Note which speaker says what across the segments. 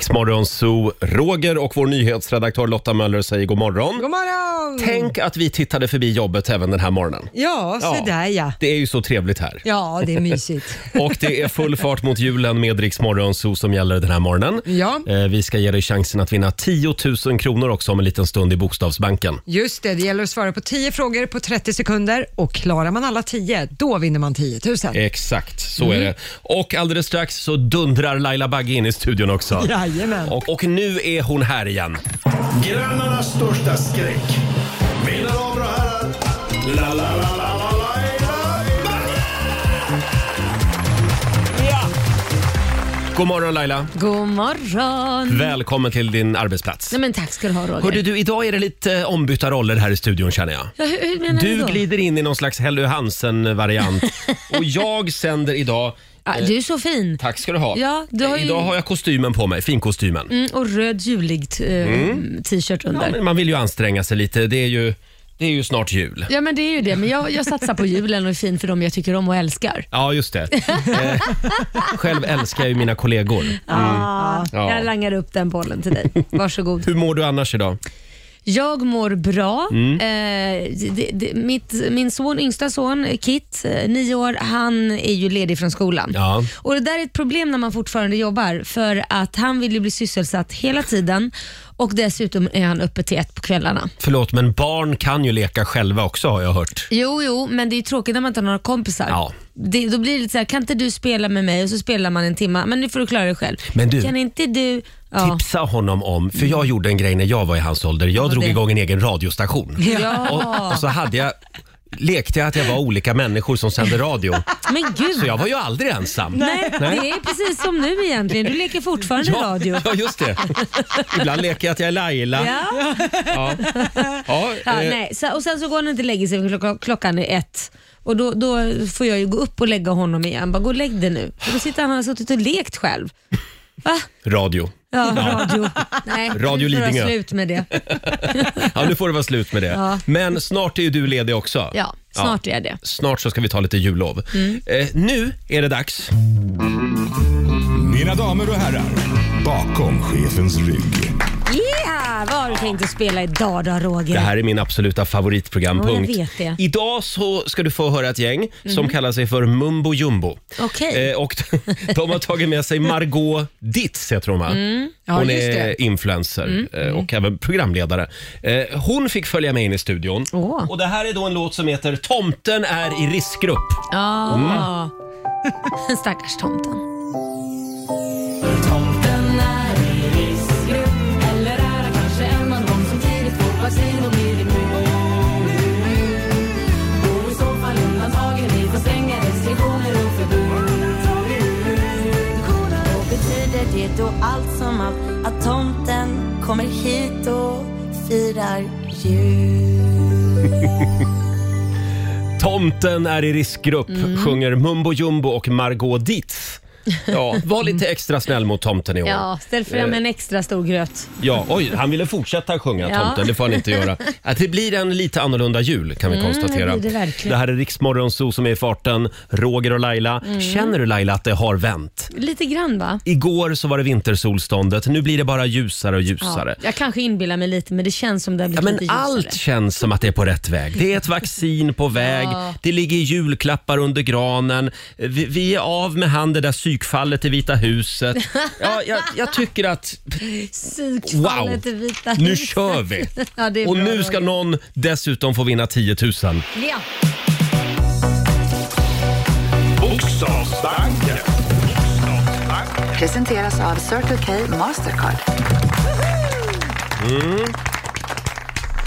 Speaker 1: Riksmorgon Zoo, Roger och vår nyhetsredaktör Lotta Möller säger god morgon.
Speaker 2: God morgon!
Speaker 1: Tänk att vi tittade förbi jobbet även den här morgonen.
Speaker 2: Ja, så
Speaker 1: Ja.
Speaker 2: där ja.
Speaker 1: Det är ju så trevligt här.
Speaker 2: Ja, det är mysigt.
Speaker 1: Och det är full fart mot julen med Riksmorgon Zoo som gäller den här morgonen.
Speaker 2: Ja.
Speaker 1: Eh, Vi ska ge dig chansen att vinna 10 000 kronor också om en liten stund i Bokstavsbanken.
Speaker 2: Just det, det gäller att svara på 10 frågor på 30 sekunder och klarar man alla 10, då vinner man 10 000.
Speaker 1: Exakt, så
Speaker 2: Mm.
Speaker 1: är det. Och alldeles strax så dundrar Laila Bagge in i studion också.
Speaker 2: Jajamän.
Speaker 1: Och, och nu är hon här igen.
Speaker 3: Grannarnas största skräck. Mina damer och herrar. La, la, la, la, la, la, la,
Speaker 1: God morgon Laila.
Speaker 4: God morgon!
Speaker 1: Välkommen till din arbetsplats.
Speaker 4: Nej men tack ska du ha Roger.
Speaker 1: Hörde du, idag är det lite ombytta roller här i studion känner jag.
Speaker 4: ja, hur, hur menar du,
Speaker 1: Du
Speaker 4: då?
Speaker 1: glider in i någon slags Helly Hansen-variant. Och jag sänder idag... eh,
Speaker 4: ja, du är så fin.
Speaker 1: Tack ska du ha.
Speaker 4: Ja, du har ju-
Speaker 1: Idag har jag kostymen på mig, finkostymen.
Speaker 4: Mm, och röd julig t- eh,
Speaker 1: Mm.
Speaker 4: t-shirt
Speaker 1: Ja,
Speaker 4: under.
Speaker 1: men man vill ju anstränga sig lite. Det är ju, det är ju snart jul.
Speaker 4: Ja men det är ju det, men jag, jag satsar på julen och är fin för dem jag tycker om och älskar.
Speaker 1: Ja, just det. Eh, själv älskar jag ju mina kollegor. Mm.
Speaker 4: Ah,
Speaker 1: Ja.
Speaker 4: Jag langar upp den bollen till dig. Varsågod.
Speaker 1: Hur mår du annars idag?
Speaker 4: Jag mår bra.
Speaker 1: Mm.
Speaker 4: Eh, det, det, mitt, min son, yngsta son, Kit, eh, nio år, han är ju ledig från skolan.
Speaker 1: Ja.
Speaker 4: Och Det där är ett problem när man fortfarande jobbar för att han vill ju bli sysselsatt hela tiden och dessutom är han uppe till ett på kvällarna.
Speaker 1: Förlåt, men barn kan ju leka själva också har jag hört.
Speaker 4: Jo, jo, men det är ju tråkigt när man inte har några kompisar.
Speaker 1: Ja.
Speaker 4: Det, då blir det lite så här, kan inte du spela med mig? Och så spelar man en timme, men nu får du klara dig själv.
Speaker 1: Men du-
Speaker 4: kan inte du... Ja. Mm.
Speaker 1: Tipsa honom om, för jag gjorde en grej när jag var i hans ålder. Jag drog
Speaker 4: det?
Speaker 1: igång en egen radiostation.
Speaker 4: Ja.
Speaker 1: Och, och så hade jag, lekte jag att jag var olika människor som sände radio.
Speaker 4: Men gud.
Speaker 1: Så jag var ju aldrig ensam.
Speaker 4: Nej, det är precis som nu egentligen. Du leker fortfarande
Speaker 1: Ja,
Speaker 4: radio.
Speaker 1: ja, just det. Ibland leker jag att jag är Laila.
Speaker 4: Ja.
Speaker 1: Ja. Ja,
Speaker 4: Ja,
Speaker 1: eh,
Speaker 4: nej. Så, och sen så går han inte och lägger sig för klockan, klockan är ett. Och då, då får jag ju gå upp och lägga honom igen. Bara gå och lägg dig nu. Och då sitter han och har suttit och lekt själv. Va?
Speaker 1: Radio.
Speaker 4: Ja, radio. Nej,
Speaker 1: Radio
Speaker 4: nu får jag
Speaker 1: Lidingö.
Speaker 4: slut med det.
Speaker 1: Ja, nu får det vara slut med det.
Speaker 4: Ja.
Speaker 1: Men snart är ju du ledig också.
Speaker 4: Ja, snart är jag Mm. det.
Speaker 1: Snart så ska vi ta lite jullov. Eh, nu är det dags.
Speaker 3: la. Mina damer och herrar. Bakom chefens rygg.
Speaker 4: Yeah! Vad har du tänkt att spela idag då Roger?
Speaker 1: Det här är min absoluta favoritprogrampunkt.
Speaker 4: Ja, jag vet det. Mhm.
Speaker 1: Idag så ska du få höra ett gäng som kallar sig för Mumbo Jumbo.
Speaker 4: Okej.
Speaker 1: Eh, och de har tagit med sig Margot Ditz, heter hon va?
Speaker 4: Mm.
Speaker 2: Ja,
Speaker 1: hon
Speaker 2: just
Speaker 1: är
Speaker 2: det.
Speaker 1: influencer eh, och även programledare. Eh, hon fick följa med in i studion.
Speaker 4: Åh.
Speaker 1: Och det här är då en låt som heter Tomten är i riskgrupp.
Speaker 4: Ja.
Speaker 1: Mm.
Speaker 4: Stackars tomten.
Speaker 5: Tomten är i riskgrupp Eller är han kanske en av dem som tidigt får placering och blir immun? Gå i så fall undantagen, vi får stränga restriktioner och förbud
Speaker 6: Och betyder det då allt som allt att tomten kommer hit och firar jul?
Speaker 1: Tomten är i riskgrupp
Speaker 4: Mm.
Speaker 1: sjunger Mumbo Jumbo och Margot Ditz. Ja, var lite extra snäll mot tomten i år.
Speaker 4: Ja, ställ
Speaker 1: Eh.
Speaker 4: fram en extra stor gröt.
Speaker 1: Ja, oj, han ville fortsätta sjunga
Speaker 4: Ja.
Speaker 1: tomten, det får han inte göra. Att det blir en lite annorlunda jul kan vi konstatera.
Speaker 4: Mm, det blir det verkligen.
Speaker 1: här är Riksmorgon Zoo som är i farten, Roger och Laila.
Speaker 4: Mm.
Speaker 1: Känner du Laila att det har vänt?
Speaker 4: Lite grann va?
Speaker 1: Igår så var det vintersolståndet, nu blir det bara ljusare och ljusare.
Speaker 4: Ja. Jag kanske inbillar mig lite men det känns som det har
Speaker 1: Ja,
Speaker 4: blivit
Speaker 1: men
Speaker 4: lite ljusare.
Speaker 1: allt känns som att det är på rätt väg. Det är ett vaccin på väg, det ligger julklappar under granen, vi, vi är av med han det där psykfallet i Vita huset. Ja, jag, jag tycker att
Speaker 4: Psykfallet
Speaker 1: Wow.
Speaker 4: i Vita
Speaker 1: nu
Speaker 4: huset.
Speaker 1: kör vi!
Speaker 4: Ja, det är
Speaker 1: Och
Speaker 4: bra,
Speaker 1: nu ska
Speaker 4: Roger.
Speaker 1: någon dessutom få vinna 10 000.
Speaker 4: Ja.
Speaker 3: Bokstavsbanken.
Speaker 7: Presenteras av Circle K Mastercard.
Speaker 1: Mm.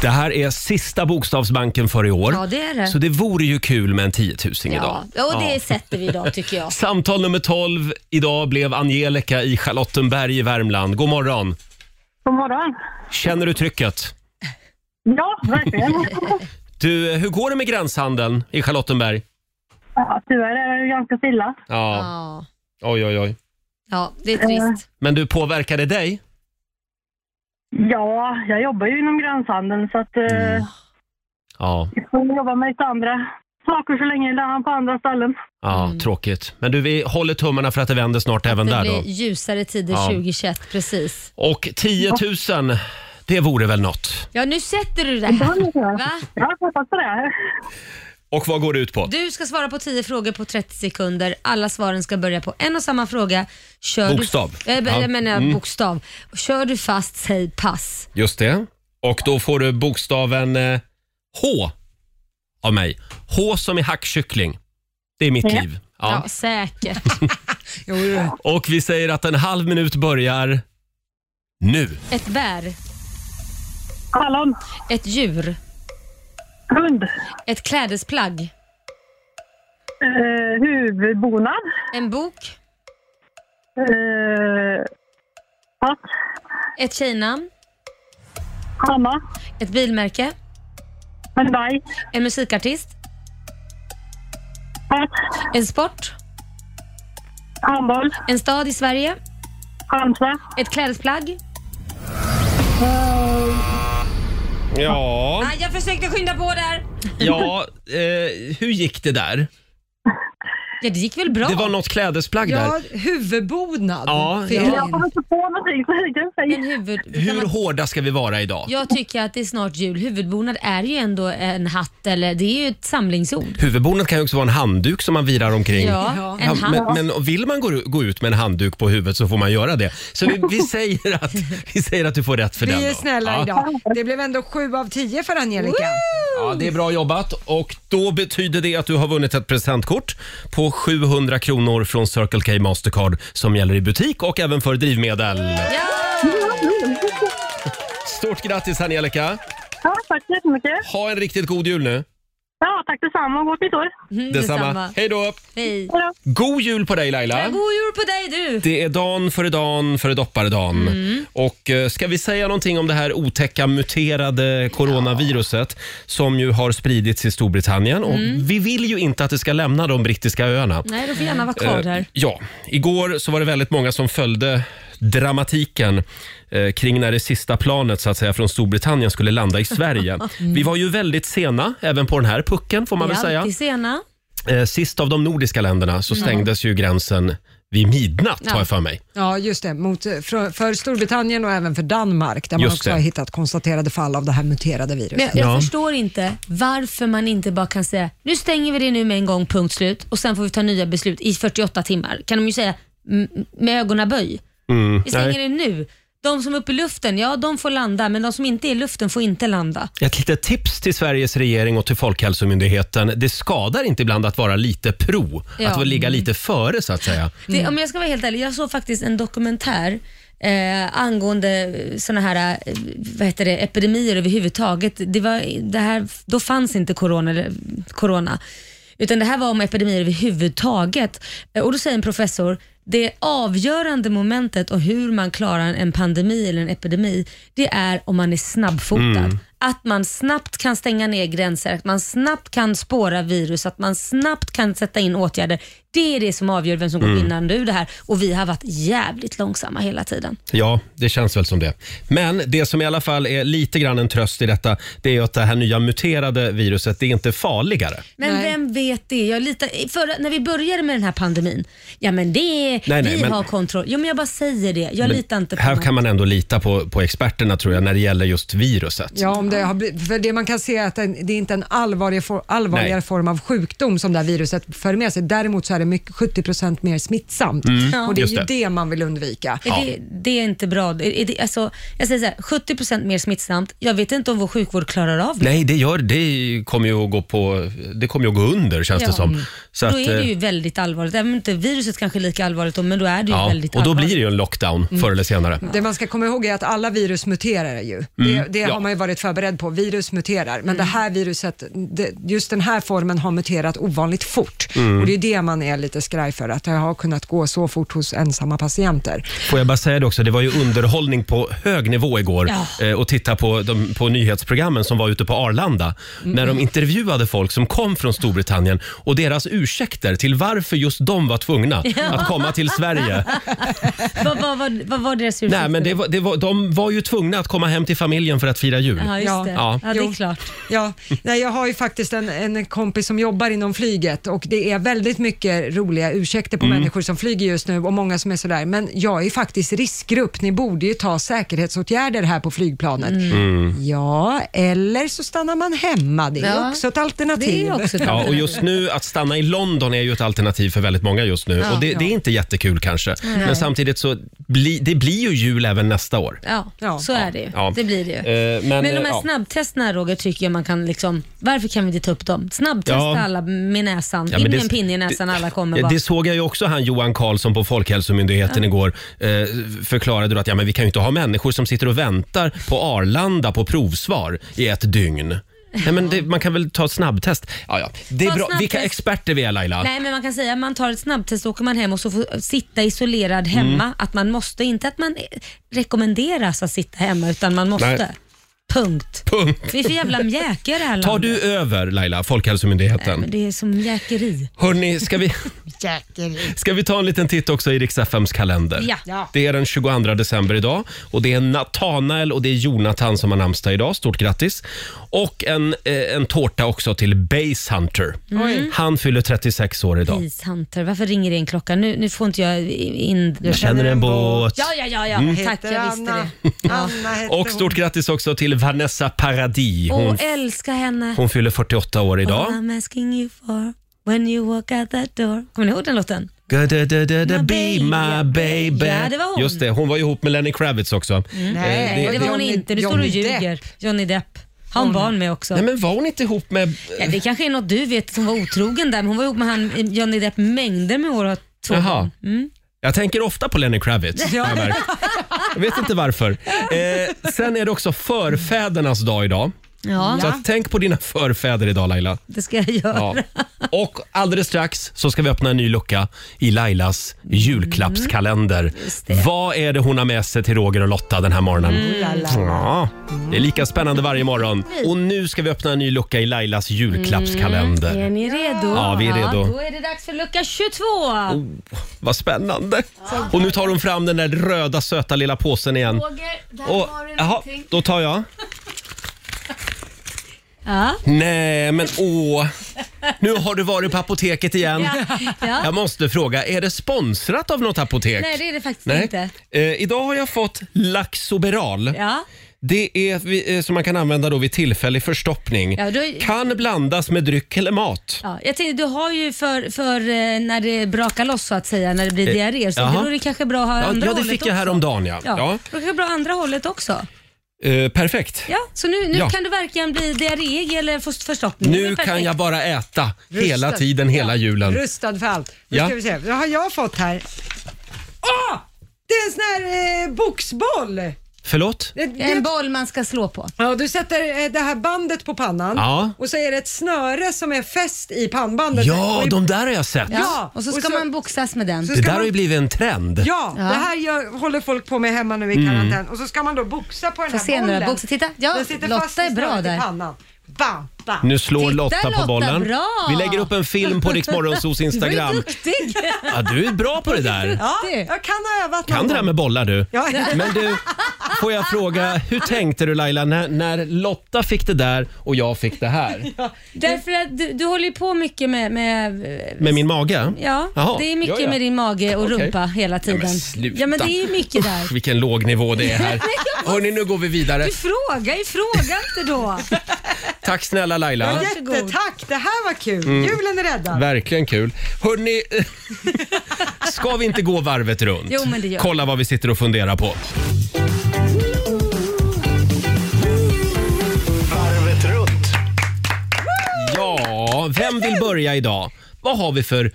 Speaker 1: Det här är sista Bokstavsbanken för i år.
Speaker 4: Ja, det är det.
Speaker 1: Så det vore ju kul med en 10 000
Speaker 4: Ja.
Speaker 1: idag.
Speaker 4: och det sätter vi idag tycker jag.
Speaker 1: Samtal nummer 12 idag blev Angelica i Charlottenberg i Värmland. God morgon!
Speaker 8: God morgon.
Speaker 1: Känner du trycket?
Speaker 8: Ja, verkligen.
Speaker 1: Du, hur går det med gränshandeln i Charlottenberg?
Speaker 8: ja, tyvärr är det ganska stilla.
Speaker 1: Ja,
Speaker 4: Ja.
Speaker 1: oj oj oj.
Speaker 4: ja, det är trist.
Speaker 1: Men du, påverkar det dig?
Speaker 8: Ja, eh,
Speaker 4: Mm.
Speaker 8: jag jobbar ju inom gränshandeln så att eh,
Speaker 1: Ja.
Speaker 8: jag får jobba med lite andra saker så länge, där han på andra ställen.
Speaker 1: Ja, tråkigt. Men du, vi håller tummarna för att det vänder snart även
Speaker 4: Mm. Det
Speaker 1: där
Speaker 4: blir
Speaker 1: då.
Speaker 4: ljusare tider
Speaker 1: Ja.
Speaker 4: 2021, precis.
Speaker 1: Och 10 000, det vore väl något.
Speaker 4: Ja, nu sätter du det här. Va?
Speaker 8: Jag har hoppas på det.
Speaker 1: Och vad går det ut på?
Speaker 4: Du ska svara på 10 frågor på 30 sekunder. Alla svaren ska börja på en och samma fråga. Kör
Speaker 1: Bokstav.
Speaker 4: Du, äh,
Speaker 1: Ja. Mm.
Speaker 4: Jag menar bokstav. Kör du fast, säg pass.
Speaker 1: Just det. Och då får du bokstaven eh, H av mig. H som i hackkyckling. Det är mitt liv.
Speaker 4: Ja,
Speaker 1: Ja.
Speaker 4: säkert.
Speaker 2: Jo, du.
Speaker 1: Och vi säger att en halv minut börjar nu.
Speaker 4: Ett bär,
Speaker 8: Hallon,
Speaker 4: ett djur,
Speaker 8: hund,
Speaker 4: ett klädesplagg,
Speaker 8: eh, huvudbonad,
Speaker 4: en bok,
Speaker 8: eh, pass,
Speaker 4: ett tjejnamn,
Speaker 8: Hanna,
Speaker 4: ett bilmärke,
Speaker 8: Hyundai,
Speaker 4: en musikartist,
Speaker 8: pass,
Speaker 4: en sport,
Speaker 8: handboll,
Speaker 4: en stad i Sverige,
Speaker 8: Halmstad,
Speaker 4: ett klädesplagg.
Speaker 1: Ja,
Speaker 4: Ah, jag försökte skynda på där.
Speaker 1: ja eh, hur gick det där?
Speaker 4: Ja, det gick väl bra?
Speaker 1: Det var något klädesplagg där.
Speaker 2: Ja, huvudbonad.
Speaker 1: Ja,
Speaker 2: Fick
Speaker 1: ja.
Speaker 2: jag
Speaker 8: Jag
Speaker 2: in.
Speaker 8: kommer inte på någonting så jag kan säga.
Speaker 4: En huvud... kan
Speaker 1: Hur
Speaker 4: man-
Speaker 1: hårda ska vi vara idag?
Speaker 4: Jag tycker att det är snart jul. Huvudbonad är ju ändå en hatt, eller det är ju ett samlingsord.
Speaker 1: Huvudbonet kan ju också vara en handduk som man virar omkring.
Speaker 4: Ja, en hatt.
Speaker 1: men, men vill man gå, gå ut med en handduk på huvudet så får man göra det. Så vi, vi, säger, att, vi säger att du får rätt för den.
Speaker 2: Vi är
Speaker 1: då.
Speaker 2: snälla
Speaker 1: ja.
Speaker 2: idag. Det blev ändå sju av tio för Angelica.
Speaker 1: Ja, det är bra jobbat. Och då betyder det att du har vunnit ett presentkort på 700 kronor från Circle K Mastercard som gäller i butik och även för drivmedel. Stort grattis Angelica!
Speaker 8: Ja, tack så jättemycket.
Speaker 1: Ha en riktigt god jul nu.
Speaker 8: Ja, tack detsamma och gott nytt år.
Speaker 4: Mm,
Speaker 1: Hej då!
Speaker 4: Hej.
Speaker 8: Hej då.
Speaker 1: God jul på dig Laila!
Speaker 4: Ja, God jul på dig du! Mm.
Speaker 1: Det är dan före dan före dopparedan. Och eh, ska vi säga någonting om det här otäcka muterade coronaviruset som ju har spridits i Storbritannien. Och vi vill ju inte att det ska lämna de brittiska öarna.
Speaker 4: Mm. Nej, du får gärna vara kvar
Speaker 1: Eh,
Speaker 4: där.
Speaker 1: Ja, igår så var det väldigt många som följde dramatiken eh, kring när det sista planet så att säga från Storbritannien skulle landa i Sverige.
Speaker 4: Mm.
Speaker 1: Vi var ju väldigt sena även på den här pucken får man väl
Speaker 4: Vi är
Speaker 1: säga.
Speaker 4: alltid sena.
Speaker 1: Eh, sist av de nordiska länderna
Speaker 4: Mm.
Speaker 1: så stängdes ju gränsen vid midnatt har jag för mig.
Speaker 2: Ja, just det. Mot, eh, för, för Storbritannien och även för Danmark där man
Speaker 1: Just
Speaker 2: också
Speaker 1: det.
Speaker 2: har hittat konstaterade fall av det här muterade viruset.
Speaker 4: Men jag, jag
Speaker 1: Ja.
Speaker 4: förstår inte varför man inte bara kan säga nu stänger vi det nu med en gång, punkt slut och sen får vi ta nya beslut i 48 timmar. Kan de ju säga m- med ögonaböj. Vi stänger
Speaker 1: nej.
Speaker 4: det nu. De som är uppe i luften, ja de får landa, men de som inte är i luften får inte landa.
Speaker 1: Ett litet tips till Sveriges regering och till Folkhälsomyndigheten. Det skadar inte ibland att vara lite pro,
Speaker 4: Ja.
Speaker 1: att ligga lite före så att säga.
Speaker 4: Det, om jag ska vara helt ärlig, jag såg faktiskt en dokumentär eh, angående sådana här eh, vad heter det, epidemier överhuvudtaget. Det var, det här, då fanns inte corona, eller, corona, utan det här var om epidemier överhuvudtaget. Eh, Och då säger en professor, det avgörande momentet och hur man klarar en pandemi eller en epidemi, det är om man är snabbfotad.
Speaker 3: Mm.
Speaker 1: Mm.
Speaker 4: Att man snabbt kan stänga ner gränser, att man snabbt kan spåra virus, att man snabbt kan sätta in åtgärder. Det är det som avgör vem som
Speaker 1: Mm.
Speaker 4: går vinnande ur det här och vi har varit jävligt långsamma hela tiden.
Speaker 1: Ja, det känns väl som det. Men det som i alla fall är lite grann en tröst i detta, det är att det här nya muterade viruset, det är inte farligare.
Speaker 4: Men
Speaker 2: Nej.
Speaker 4: vem vet det? Jag litar, förra, när vi började med den här pandemin, ja men det är,
Speaker 1: Nej, nej,
Speaker 4: vi
Speaker 1: men-
Speaker 4: har kontroll. Jo men jag bara säger det, jag litar inte på
Speaker 1: Här
Speaker 4: någon.
Speaker 1: kan man ändå lita på, på experterna tror jag, när det gäller just viruset.
Speaker 2: Ja, om det har blivit, för det man kan se är att den, det är inte en allvarlig for, allvarligare
Speaker 1: Nej.
Speaker 2: form av sjukdom som det här viruset för med sig. Däremot så är det mycket, 70 mer smittsamt och det är
Speaker 1: Mm. Just
Speaker 2: ju det.
Speaker 1: det.
Speaker 2: man vill undvika.
Speaker 4: Är Det, det är inte bra. Är är det, alltså, jag säger så här, 70% mer smittsamt. Jag vet inte om vår sjukvård klarar av det.
Speaker 1: Nej, det, gör, det kommer ju att gå, på, det kommer ju att gå under känns
Speaker 4: Ja. Mm.
Speaker 1: det som. Så
Speaker 4: Då är det
Speaker 1: eh,
Speaker 4: ju väldigt allvarligt. Även om inte viruset kanske är lika allvarligt, då, men då är det ju
Speaker 1: ja,
Speaker 4: väldigt
Speaker 1: och då
Speaker 4: allvarligt. Mm.
Speaker 1: blir det ju en lockdown förr eller senare.
Speaker 2: Det man ska komma ihåg är att alla virus muterar ju. det det
Speaker 1: Mm. ja.
Speaker 2: har man ju varit förberedd på. Virus muterar, men det här viruset, det, just den här formen har muterat ovanligt fort.
Speaker 1: Mm.
Speaker 2: Och det är det man är lite skraj för, att det har kunnat gå så fort hos ensamma patienter.
Speaker 1: Får jag bara säga det också, det var ju underhållning på hög nivå igår
Speaker 4: Ja.
Speaker 1: eh, och titta på, de, på nyhetsprogrammen som var ute på Arlanda
Speaker 4: Mm.
Speaker 1: när de intervjuade folk som kom från Storbritannien och deras ursäkter till varför just de var tvungna att komma till Sverige.
Speaker 4: Vad, vad, vad, vad var deras ursäkt?
Speaker 1: Nej, men det var, det var, de var ju tvungna att komma hem till familjen för att fira jul.
Speaker 4: Ja, just det. Ja,
Speaker 1: Mm. Ja.
Speaker 4: det är
Speaker 2: Jo.
Speaker 4: klart.
Speaker 2: Ja, nej, jag har ju faktiskt en, en kompis som jobbar inom flyget och det är väldigt mycket roliga ursäkter
Speaker 1: Mm.
Speaker 2: på människor som flyger just nu och många som är sådär, men jag är faktiskt riskgrupp, ni borde ju ta säkerhetsåtgärder här på flygplanet.
Speaker 1: Mm.
Speaker 2: Ja, eller så stannar man hemma, det är
Speaker 4: Ja.
Speaker 2: också ett alternativ.
Speaker 4: Det är också ett
Speaker 1: Ja, och just nu att stanna i London är ju ett alternativ för väldigt många just nu och det, det är inte jättekul kanske. Men samtidigt så bli, det blir ju jul även nästa år.
Speaker 4: Ja,
Speaker 2: Ja.
Speaker 4: så är det ju.
Speaker 1: Ja.
Speaker 4: Det blir det ju.
Speaker 1: Eh, men,
Speaker 4: men, de här
Speaker 1: ja.
Speaker 4: snabbtesterna Roger tycker jag man kan liksom, varför kan vi inte ta upp dem? Snabbtesta
Speaker 1: Ja.
Speaker 4: alla med näsan,
Speaker 1: Ja,
Speaker 4: in
Speaker 1: men
Speaker 4: med
Speaker 1: det-
Speaker 4: en pinne i näsan, alla kommer
Speaker 1: Ja,
Speaker 4: bara.
Speaker 1: Det såg jag ju också han Johan Karlsson på Folkhälsomyndigheten igår. Eh, förklarade då att ja, men vi kan ju inte ha människor som sitter och väntar på Arlanda på provsvar i ett dygn. Nej, men det, man kan väl ta ett snabbtest? Ja, ja. Det är
Speaker 4: Ta
Speaker 1: bra.
Speaker 4: snabbtest.
Speaker 1: Vilka experter vi är Laila.
Speaker 4: Nej men man kan säga att man tar ett snabbtest och åker man hem och så får sitta isolerad hemma.
Speaker 1: Mm.
Speaker 4: Att man måste, inte att man eh, rekommenderas att sitta hemma utan man måste.
Speaker 1: Nej.
Speaker 4: Punkt.
Speaker 1: Punkt.
Speaker 4: Vi är för jävla mjäkiga i det här
Speaker 1: Tar
Speaker 4: landet.
Speaker 1: du över Laila, Folkhälsomyndigheten?
Speaker 4: Men det är som mjäkeri.
Speaker 1: Hörni, ska vi, ska vi ta en liten titt också i Rix FMs kalender?
Speaker 4: Ja. Ja.
Speaker 1: Det är den 22 december idag och det är Natanael och det är Jonathan som har namnsdag idag. Stort grattis! Och en, eh, en tårta också till Base Hunter.
Speaker 4: Mm.
Speaker 1: Han fyller 36 år idag.
Speaker 4: Ishunter, varför ringer det en klocka? Nu, nu får inte jag in...
Speaker 1: Jag känner en båt.
Speaker 4: Ja, ja, ja, ja. tack jag visste
Speaker 2: Anna.
Speaker 4: det.
Speaker 2: Anna heter
Speaker 1: Mm. Och stort grattis också till Vanessa Paradis. Hon,
Speaker 4: Åh, eh. älska henne.
Speaker 1: hon fyller 48 år idag.
Speaker 4: All I'm asking you for when you walk out that door. Kommer ni ihåg den låten?
Speaker 1: Go, da, da, da, da, be my baby.
Speaker 4: Ja, det var hon. Mm.
Speaker 1: Just det, hon var ju ihop med Lenny Kravitz också. Eh,
Speaker 4: Nej, det var hon
Speaker 2: Johnny-
Speaker 4: inte. Du står och
Speaker 2: Johnny Depp.
Speaker 4: ljuger. Johnny Depp. Har hon barn med också?
Speaker 1: Nej, men var hon inte ihop med...
Speaker 4: Ja, det kanske är något du vet, att hon var otrogen där. Men hon var ihop med han, Johnny Depp mängder med år och har två
Speaker 1: Jaha.
Speaker 4: barn. Mm.
Speaker 1: Jag tänker ofta på Lenny Kravitz. har jag märkt. Jag vet inte varför. Eh, sen är det också förfädernas dag idag.
Speaker 4: Ja,
Speaker 1: Så att tänk på dina förfäder idag Laila.
Speaker 4: det ska jag göra.
Speaker 1: Ja. Och alldeles strax så ska vi öppna en ny lucka i Lailas julklappskalender.
Speaker 4: Mm,
Speaker 1: Vad är det hon har med sig till Roger och Lotta den här morgonen?
Speaker 4: Mm,
Speaker 1: Ja, det är lika spännande varje morgon. Och nu ska vi öppna en ny lucka i Lailas julklappskalender.
Speaker 4: Mm, Är ni redo?
Speaker 1: Ja, vi är redo. Oh.
Speaker 4: då är det dags för lucka 22.
Speaker 1: Vad spännande. Och nu tar hon fram den där röda söta lilla påsen igen. Och, jaha, då tar jag.
Speaker 4: Ja.
Speaker 1: Nej, men åh. Nu har du varit på apoteket igen.
Speaker 4: Ja.
Speaker 1: Jag måste fråga, är det sponsrat av något apotek?
Speaker 4: Nej, det är det faktiskt
Speaker 1: Nej.
Speaker 4: inte.
Speaker 1: Eh, idag har jag fått Laxoberal.
Speaker 4: Ja.
Speaker 1: Det är vi- eh, som man kan använda då vid tillfällig förstoppning.
Speaker 4: Ja, då-
Speaker 1: Kan blandas med dryck eller mat.
Speaker 4: Ja, jag tänkte, du har ju för, för eh, när det brakar loss så att säga, när det blir diarréer. Så
Speaker 1: Eh, jaha.
Speaker 4: då är det kanske bra att ha
Speaker 1: Ja,
Speaker 4: andra
Speaker 1: ja det
Speaker 4: hållet
Speaker 1: fick
Speaker 4: också.
Speaker 1: jag häromdagen ja.
Speaker 4: Ja.
Speaker 1: ja.
Speaker 4: Då kanske det är bra andra hållet också.
Speaker 1: Eh, perfekt.
Speaker 4: Ja, så nu, nu
Speaker 1: Ja.
Speaker 4: kan du verkligen bli diarréig eller få förstoppning. Det är
Speaker 1: Nu
Speaker 4: perfekt.
Speaker 1: kan jag bara äta
Speaker 2: Rustat.
Speaker 1: hela tiden, hela julen.
Speaker 2: Rustad för allt. Nu
Speaker 1: Ja.
Speaker 2: ska vi se, vad har jag fått här? Åh! Det är en sån här eh, boxboll! Det,
Speaker 1: Förlåt?
Speaker 2: det,
Speaker 4: En boll man ska slå på.
Speaker 2: Ja, du sätter eh, det här bandet på pannan
Speaker 1: Ja.
Speaker 2: och så är det ett snöre som är fäst i pannbandet.
Speaker 1: Ja,
Speaker 2: och i,
Speaker 1: de där har jag sett.
Speaker 4: Ja.
Speaker 2: Ja,
Speaker 4: Och så
Speaker 2: och
Speaker 4: ska
Speaker 2: så-
Speaker 4: man boxas med den.
Speaker 2: så
Speaker 1: Det
Speaker 2: ska
Speaker 1: där har ju
Speaker 2: man,
Speaker 1: blivit Mm. en trend.
Speaker 2: ja, det här gör, håller folk på med hemma nu i karantän och så ska man då boxa på den
Speaker 4: Får
Speaker 2: här
Speaker 4: se några
Speaker 2: bollen.
Speaker 4: boxar. Titta, ja,
Speaker 2: Den sitter fast
Speaker 4: Lotta
Speaker 2: i
Speaker 4: är bra
Speaker 2: snöret i
Speaker 4: där.
Speaker 2: pannan. Bam, bam.
Speaker 1: Nu slår
Speaker 4: Titta,
Speaker 1: Lotta på
Speaker 4: Lotta,
Speaker 1: bollen.
Speaker 4: bra!
Speaker 1: Vi lägger upp en film på Rix Morgonzos
Speaker 4: Du är
Speaker 1: Instagram.
Speaker 4: duktig!
Speaker 1: Ja, du är bra på det där.
Speaker 2: Ja,
Speaker 4: Det.
Speaker 2: jag kan ha övat
Speaker 1: Kan
Speaker 2: någon
Speaker 1: det där
Speaker 2: gång.
Speaker 1: med bollar du.
Speaker 2: Ja.
Speaker 1: Men du, får jag fråga, hur tänkte du Laila när, när Lotta fick det där och jag fick det här?
Speaker 4: Därför att du, du håller ju på mycket med... med
Speaker 1: Med min mage?
Speaker 4: ja,
Speaker 1: Jaha,
Speaker 4: det är mycket
Speaker 1: ja, ja.
Speaker 4: med din mage och
Speaker 1: Okej.
Speaker 4: rumpa hela tiden.
Speaker 1: men sluta.
Speaker 4: Ja, men det är ju mycket där.
Speaker 1: Usch, vilken låg nivå det är här. Hörni, nu går vi vidare.
Speaker 4: Du frågar ju, fråga inte då.
Speaker 1: Tack snälla Laila.
Speaker 4: Varsågod.
Speaker 2: Jättetack, det här var kul.
Speaker 1: Mm.
Speaker 2: Julen är räddad.
Speaker 1: Verkligen kul. Hörni, ska vi inte gå varvet runt?
Speaker 4: Jo, men det gör vi.
Speaker 1: Kolla vad vi sitter och funderar på.
Speaker 3: Varvet runt.
Speaker 1: Ja, vem vill börja idag? Vad har vi för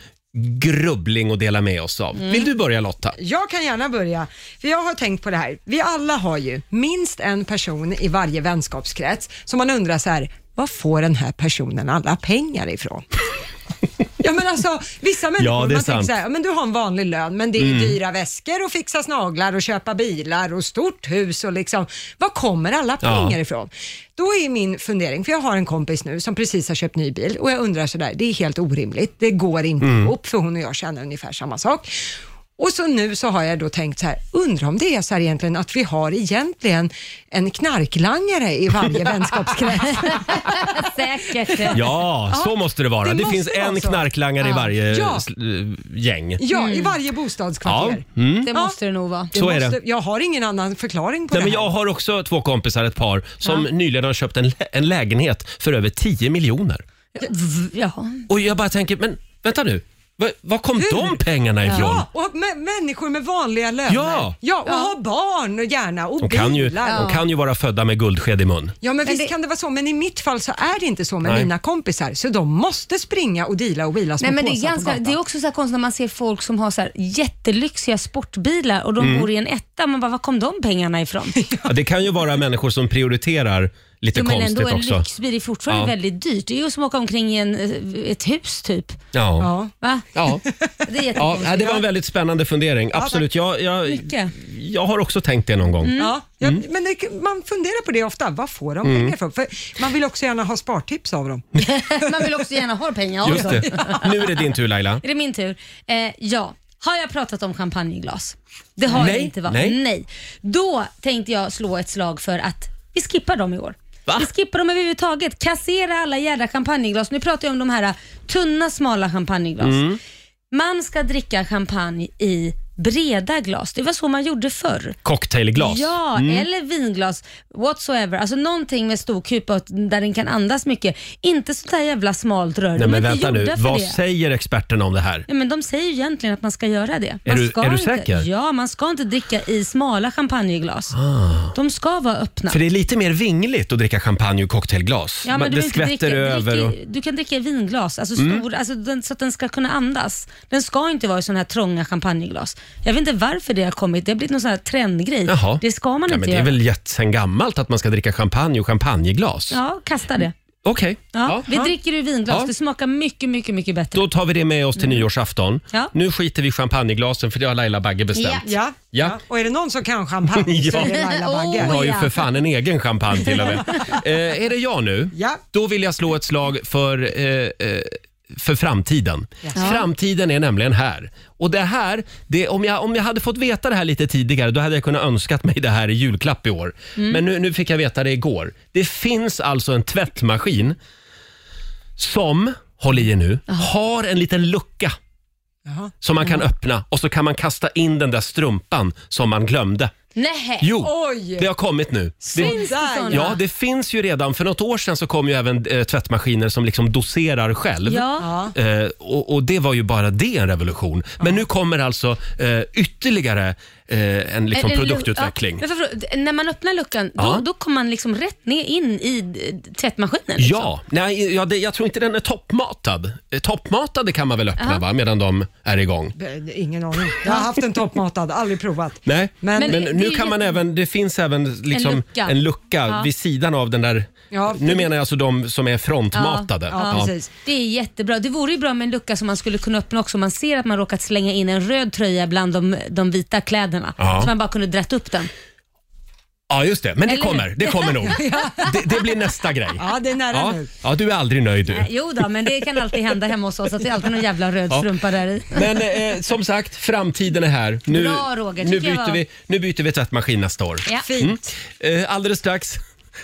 Speaker 1: grubbling att dela med oss av?
Speaker 2: Mm.
Speaker 1: Vill du börja Lotta?
Speaker 2: Jag kan gärna börja, för jag har tänkt på det här. Vi alla har ju minst en person i varje vänskapskrets som man undrar så här, var får den här personen alla pengar ifrån? Ja men alltså vissa människor,
Speaker 1: Ja, det är
Speaker 2: man
Speaker 1: sant. Mm.
Speaker 2: tänker så här, ja, men du har en vanlig lön men det är ju dyra väskor och fixas naglar och köpa bilar och stort hus och liksom, var kommer alla pengar ifrån? Då är min fundering, för jag har en kompis nu som precis har köpt ny bil
Speaker 1: Mm.
Speaker 2: och jag undrar sådär, det är helt orimligt, det går inte ihop för hon och jag tjänar ungefär samma sak. Och så nu så har jag då tänkt så här, undrar om det är så här egentligen att vi har egentligen en knarklangare i varje vänskapskrets.
Speaker 9: Säkert.
Speaker 1: Ja, så måste det vara.
Speaker 2: det
Speaker 1: Det,
Speaker 2: måste
Speaker 1: finns
Speaker 2: vara
Speaker 1: en
Speaker 2: så.
Speaker 1: knarklangare i varje
Speaker 2: Ja.
Speaker 1: s- eh, gäng.
Speaker 2: Ja, i varje
Speaker 1: Ja,
Speaker 2: bostadskvarter.
Speaker 1: mm.
Speaker 4: Mm. Det måste det nog vara.
Speaker 2: Det
Speaker 1: Så är det.
Speaker 2: Jag har ingen annan förklaring på
Speaker 1: Nej,
Speaker 2: det
Speaker 1: men
Speaker 2: här.
Speaker 1: jag har också två kompisar, ett par, som nyligen har köpt en, lä- en lägenhet för över 10 miljoner.
Speaker 9: V- Ja.
Speaker 1: Och jag bara tänker, men vänta nu. Var, var kom de pengarna ifrån?
Speaker 2: Ja, och mä- människor med vanliga löner.
Speaker 1: Ja.
Speaker 2: ja och ha barn och gärna och
Speaker 1: De kan, ju,
Speaker 2: bilar.
Speaker 1: de kan ju vara födda med guldsked i mun.
Speaker 2: Ja, men, visst kan det vara så, men i mitt fall så är det inte så med
Speaker 1: Nej.
Speaker 2: mina kompisar, så de måste springa och deala och vila små
Speaker 4: Nej, men det, är
Speaker 2: påsar
Speaker 4: ganska,
Speaker 2: på
Speaker 4: det är
Speaker 2: gatan.
Speaker 4: också så här konstigt när man ser folk som har så här jättelyxiga sportbilar och de
Speaker 1: Mm.
Speaker 4: bor i en etta. Man bara, var kom de pengarna ifrån?
Speaker 1: Ja, det kan ju vara människor som prioriterar lite
Speaker 4: Jo, men ändå
Speaker 1: konstigt också.
Speaker 4: en lyxbil är fortfarande
Speaker 1: Ja.
Speaker 4: väldigt dyrt. Det är ju som att åka omkring i en, eh, ett hus typ.
Speaker 1: Ja.
Speaker 2: Ja.
Speaker 4: Va?
Speaker 1: Ja.
Speaker 4: Det är
Speaker 1: Ja,
Speaker 4: jättekonstigt.
Speaker 1: ja, det var en väldigt spännande fundering. Absolut. Jag, jag,
Speaker 4: Mycket. Mm.
Speaker 1: jag har också tänkt det någon gång.
Speaker 2: Ja, ja,
Speaker 1: Mm.
Speaker 2: men det, man funderar på det ofta. Vad får de pengar från? För man vill också gärna ha spartips av dem.
Speaker 4: Man vill också gärna ha pengar. också.
Speaker 1: Just det. Nu är det din tur Laila.
Speaker 4: Är det min tur? Eh, ja. Har jag pratat om champagneglas? Det har
Speaker 1: Nej,
Speaker 4: jag inte va?
Speaker 1: nej.
Speaker 4: Då tänkte jag slå ett slag för att vi skippar dem i år.
Speaker 1: Va?
Speaker 4: Vi skippar dem överhuvudtaget. Kassera alla jädra champagneglas. Nu pratar jag om de här tunna, smala champagneglas.
Speaker 1: Mm.
Speaker 4: Man ska dricka champagne i breda glas. Det var så man gjorde förr.
Speaker 1: Cocktailglas. Mm.
Speaker 4: Ja, eller vinglas. Whatsoever. Alltså någonting med stor kupa och där den kan andas mycket. Inte sånt där jävla smalt rör.
Speaker 1: Nej,
Speaker 4: De är
Speaker 1: men
Speaker 4: inte
Speaker 1: vänta nu.
Speaker 4: gjorda för
Speaker 1: Vad
Speaker 4: det.
Speaker 1: säger experterna om det här?
Speaker 4: Ja, men de säger ju egentligen att man ska göra det. Man
Speaker 1: du-
Speaker 4: ska
Speaker 1: är du
Speaker 4: inte,
Speaker 1: säker? Ah.
Speaker 4: Ja, man ska inte dricka i smala champagneglas. De ska vara öppna.
Speaker 1: För det är lite mer vingligt att dricka champagne och cocktailglas.
Speaker 4: Ja,
Speaker 1: Man-
Speaker 4: men
Speaker 1: det
Speaker 4: du behöver
Speaker 1: skvätter
Speaker 4: inte dricka,
Speaker 1: över. Och... Mm.
Speaker 4: drick i- Du kan dricka i vinglas, alltså stor, alltså den, så att den ska kunna andas. Den ska inte vara i sådana här trånga champagneglas. Jag vet inte varför det har kommit. Det har blivit någon sån här trendgrej.
Speaker 1: Jaha.
Speaker 4: Det ska man
Speaker 1: ja,
Speaker 4: inte
Speaker 1: men Det är
Speaker 4: göra.
Speaker 1: väl jätt- sen gammalt att man ska dricka champagne och champagneglas?
Speaker 4: Ja, kasta det.
Speaker 1: Okej.
Speaker 4: Ja,
Speaker 1: Ja.
Speaker 4: Vi dricker ur vinglas.
Speaker 1: Ja.
Speaker 4: Det smakar mycket, mycket, mycket bättre.
Speaker 1: Då tar vi det med oss till nyårsafton.
Speaker 4: Mm. Ja.
Speaker 1: Nu skiter vi i champagneglasen för det har Laila Bagge bestämt.
Speaker 2: Ja.
Speaker 1: Ja.
Speaker 2: Och är det någon som kan champagne så är det Oh, Laila Bagge.
Speaker 1: Hon har ju
Speaker 4: Oh, Ja.
Speaker 1: för fan en egen champagne till och med. eh, är det jag nu?
Speaker 2: Ja.
Speaker 1: Då vill jag slå ett slag för, eh, eh, för framtiden. Framtiden är nämligen här. Och det här, det, om, jag, om jag hade fått veta det här lite tidigare, då hade jag kunnat önskat mig det här i julklapp i år.
Speaker 2: Mm.
Speaker 1: Men nu, nu fick jag veta det igår. Det finns alltså en tvättmaskin som, håll i er nu, har en liten lucka
Speaker 2: Jaha.
Speaker 1: som man kan öppna och så kan man kasta in den där strumpan som man glömde.
Speaker 4: Nej.
Speaker 1: Jo,
Speaker 2: Oj.
Speaker 1: det har kommit nu. Det,
Speaker 4: Finns det såna?
Speaker 1: Ja, det finns ju redan. För något år sedan så kom ju även eh, tvättmaskiner som liksom doserar själv.
Speaker 4: Ja.
Speaker 2: Ja.
Speaker 1: Eh, och, och det var ju bara det en revolution. Men nu kommer alltså eh, ytterligare eh, en liksom
Speaker 4: En- en lu-
Speaker 1: produktutveckling.
Speaker 4: Ja, men för- för- när man öppnar luckan,
Speaker 1: Ja.
Speaker 4: då, då kommer man liksom rätt ner in i eh, tvättmaskinen. Liksom.
Speaker 1: Ja, nej, ja det, jag tror inte den är toppmatad. Eh, Toppmatade kan man väl öppna va, medan de är igång.
Speaker 2: B- Ingen aning. Jag har haft en toppmatad, aldrig provat.
Speaker 1: Nej, men,
Speaker 2: Men- Men
Speaker 4: det- det
Speaker 1: nu
Speaker 4: är
Speaker 1: kan man
Speaker 4: jätte-
Speaker 1: även, det finns även liksom en lucka,
Speaker 4: lucka. Ja.
Speaker 1: vid sidan av den där,
Speaker 2: Ja,
Speaker 1: nu
Speaker 2: för-
Speaker 1: menar jag alltså de som är frontmatade.
Speaker 2: Ja,
Speaker 1: Ja.
Speaker 2: precis.
Speaker 4: Det är jättebra. Det vore ju bra med en lucka som man skulle kunna öppna också om man ser att man råkat slänga in en röd tröja bland de, de vita kläderna.
Speaker 1: Ja.
Speaker 4: Så man bara kunde drätt upp den.
Speaker 1: Ja, just det. Men det
Speaker 4: Eller
Speaker 1: kommer.
Speaker 4: hur?
Speaker 1: Det kommer nog. Det, det blir nästa grej.
Speaker 2: Ja, det är nära
Speaker 1: Ja.
Speaker 2: nu.
Speaker 1: ja, du är aldrig nöjd du.
Speaker 4: Eh, Jo då, men det kan alltid hända hemma hos oss att det är alltid någon jävla röd
Speaker 1: Ja.
Speaker 4: strumpa där i.
Speaker 1: Men eh, som sagt, framtiden är här. Nu,
Speaker 4: Bra, Roger.
Speaker 1: nu,
Speaker 4: Tycker jag
Speaker 1: byter
Speaker 4: var-
Speaker 1: vi, nu byter vi tvättmaskin nästa år. Mm.
Speaker 4: Ja.
Speaker 2: Fint.
Speaker 1: Eh, alldeles strax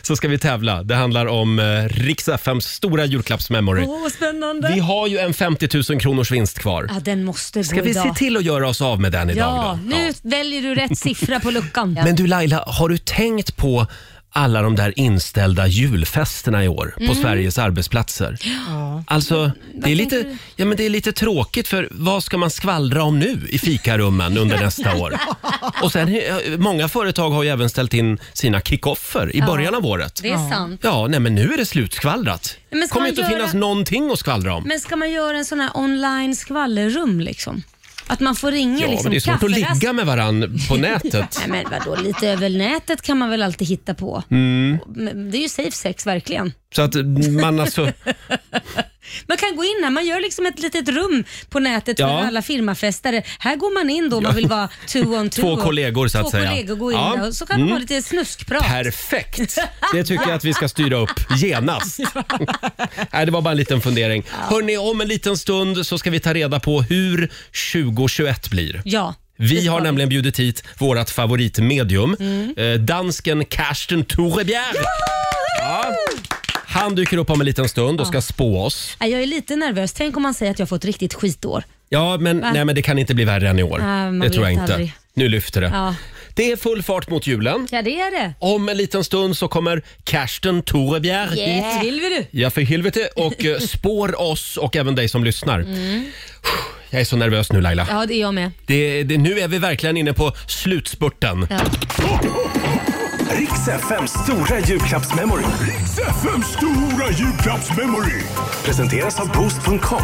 Speaker 1: så ska vi tävla. Det handlar om eh, Rix FMs stora julklappsmemory.
Speaker 4: Åh, vad spännande.
Speaker 1: Vi har ju en 50 000 kronors vinst kvar.
Speaker 4: Ja, den måste
Speaker 1: Ska
Speaker 4: gå
Speaker 1: vi se
Speaker 4: idag.
Speaker 1: till att göra oss av med den idag?
Speaker 4: Ja,
Speaker 1: då?
Speaker 4: nu väljer du rätt siffra på luckan.
Speaker 1: Men du Laila, har du tänkt på alla de där inställda julfesterna i år
Speaker 4: Mm.
Speaker 1: på Sveriges arbetsplatser? Ja. Alltså, det är, lite, ja, men det är lite tråkigt för vad ska man skvallra om nu i fikarummen under nästa år? Och sen, eh, många företag har ju även ställt in sina kickoffer i början av året.
Speaker 4: Det är sant.
Speaker 1: Ja, nej men nu är det slutskvallrat.
Speaker 4: Men
Speaker 1: Det
Speaker 4: ska
Speaker 1: kommer
Speaker 4: man
Speaker 1: inte att
Speaker 4: göra-
Speaker 1: finnas någonting att skvallra om.
Speaker 4: Men ska man göra en sån här online skvallerrum liksom? Att man får ringa
Speaker 1: Ja,
Speaker 4: liksom
Speaker 1: men det är svårt att
Speaker 4: kafferast-
Speaker 1: ligga med varann på nätet.
Speaker 4: Nej men vadå, lite över nätet kan man väl alltid hitta på. Men Det är ju safe sex verkligen.
Speaker 1: Mm. Så att man alltså...
Speaker 4: Man kan gå in här, man gör liksom ett litet rum på nätet
Speaker 1: Ja.
Speaker 4: för alla firmafestare. Här går man in då om man vill vara two on two.
Speaker 1: Två kollegor, så att
Speaker 4: Två
Speaker 1: säga.
Speaker 4: kollegor går in
Speaker 1: Ja. Mm.
Speaker 4: där och så kan man ha lite snuskprat.
Speaker 1: Perfekt! Det tycker jag att vi ska styra upp genast. Nej, det var bara en liten fundering. Hörni, om en liten stund så ska vi ta reda på hur 2021 blir.
Speaker 4: Ja,
Speaker 1: Vi har nämligen bjudit hit vårt favoritmedium,
Speaker 10: Mm.
Speaker 1: eh, dansken Karsten Torebjer. Ja. Han dyker upp om en liten stund och ska spå oss.
Speaker 10: Nej, Jag är lite nervös. Tänk om han säger att jag har fått riktigt skitår.
Speaker 1: Ja, men, nej, men det kan inte bli värre än i år.
Speaker 10: Nej, man
Speaker 1: det tror jag
Speaker 10: vet
Speaker 1: inte.
Speaker 10: aldrig.
Speaker 1: Nu lyfter det.
Speaker 10: Ja.
Speaker 1: Det är full fart mot julen.
Speaker 10: Ja, det är det.
Speaker 1: Om en liten stund så kommer Karsten Torebjer hit.
Speaker 10: Dit vill vi du.
Speaker 1: Ja, för helvete. Och eh, spår oss och även dig som lyssnar.
Speaker 4: Mm.
Speaker 1: Jag är så nervös nu Laila.
Speaker 10: Mm. Ja, det är jag med.
Speaker 1: Det, det, nu är vi verkligen inne på slutspurten.
Speaker 3: Riks FMs stora julklappsmemory. Riks FMs stora julklappsmemory. Presenteras av Boost.com.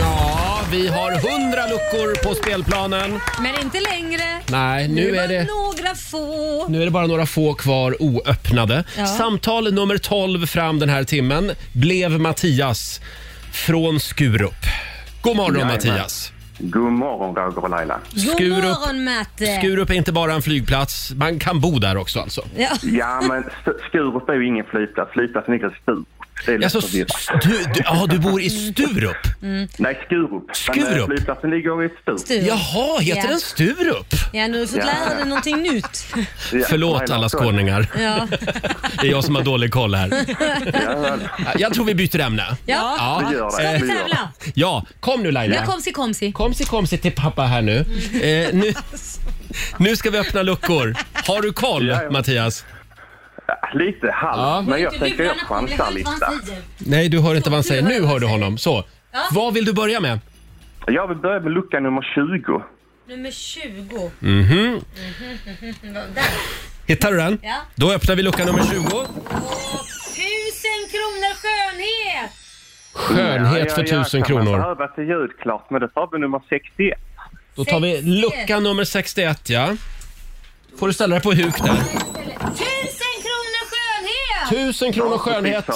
Speaker 1: Ja, vi har hundra luckor på spelplanen.
Speaker 10: Men inte längre.
Speaker 1: Nej, nu
Speaker 10: bara
Speaker 1: är det...
Speaker 10: några få.
Speaker 1: Nu är det bara några få kvar oöppnade.
Speaker 10: Ja.
Speaker 1: Samtal nummer 12 fram den här timmen blev Mattias från Skurup. God morgon
Speaker 11: Jajamän.
Speaker 1: Mattias!
Speaker 11: God morgon Roger och Laila.
Speaker 10: God
Speaker 1: Skurup-
Speaker 10: morgon Matte.
Speaker 1: Skurup är inte bara en flygplats, man kan bo där också alltså.
Speaker 10: ja.
Speaker 11: Ja, men Sk- Skurup är ju ingen flygplats. Flygplatsen ligger i Sturup. Det är lätt
Speaker 1: Alltså,
Speaker 11: att veta.
Speaker 1: stu, du, ja, du bor i Sturup?
Speaker 10: Mm.
Speaker 11: Nej, Skurup. Men
Speaker 1: Skurup?
Speaker 11: eh, flygplatsen ligger i Sturup.
Speaker 10: Du.
Speaker 1: Jaha, heter
Speaker 10: Ja.
Speaker 1: den Sturup?
Speaker 10: Ja, nu har du fått
Speaker 11: Ja.
Speaker 10: lära dig någonting nytt.
Speaker 11: Ja,
Speaker 1: Förlåt
Speaker 11: Laila,
Speaker 1: alla
Speaker 11: så-
Speaker 1: skåningar.
Speaker 10: Ja.
Speaker 1: Det är jag som har dålig koll här.
Speaker 11: Ja,
Speaker 1: Jag tror vi byter ämne.
Speaker 10: Ja.
Speaker 11: det gör det.
Speaker 10: Ska vi
Speaker 11: det gör det.
Speaker 10: tävla?
Speaker 1: Ja, kom nu Laila.
Speaker 10: Nu komsi komsi.
Speaker 1: Komsi, komsi till pappa här nu. Eh, nu. Nu ska vi öppna luckor. Har du koll,
Speaker 11: Ja, ja.
Speaker 1: Mattias?
Speaker 11: Ja, Lite halvt,
Speaker 1: Ja.
Speaker 11: men jag tänker jag chansar lite.
Speaker 1: Nej, du hör inte vad han säger. Nu
Speaker 10: vad
Speaker 1: hör
Speaker 10: han
Speaker 1: du
Speaker 10: säger.
Speaker 1: honom. Så.
Speaker 10: Ja.
Speaker 1: Vad vill du börja med?
Speaker 11: Jag vill börja med lucka nummer 20.
Speaker 10: Nummer 20.
Speaker 1: Mhm. Hittar du den?
Speaker 10: Ja.
Speaker 1: Då öppnar vi lucka nummer 20.
Speaker 10: Tusen kronor skönhet!
Speaker 1: Skönhet
Speaker 11: Ja,
Speaker 1: för
Speaker 11: ja, ja,
Speaker 1: 1000
Speaker 11: Kan man
Speaker 1: kronor.
Speaker 11: behöva till ljud klart, men då tar vi nummer 61.
Speaker 1: Då tar vi lucka nummer 61, ja. Får du ställa dig på huk där.
Speaker 10: Tusen kronor skönhet!
Speaker 1: 1000 kronor skönhet.
Speaker 11: Så,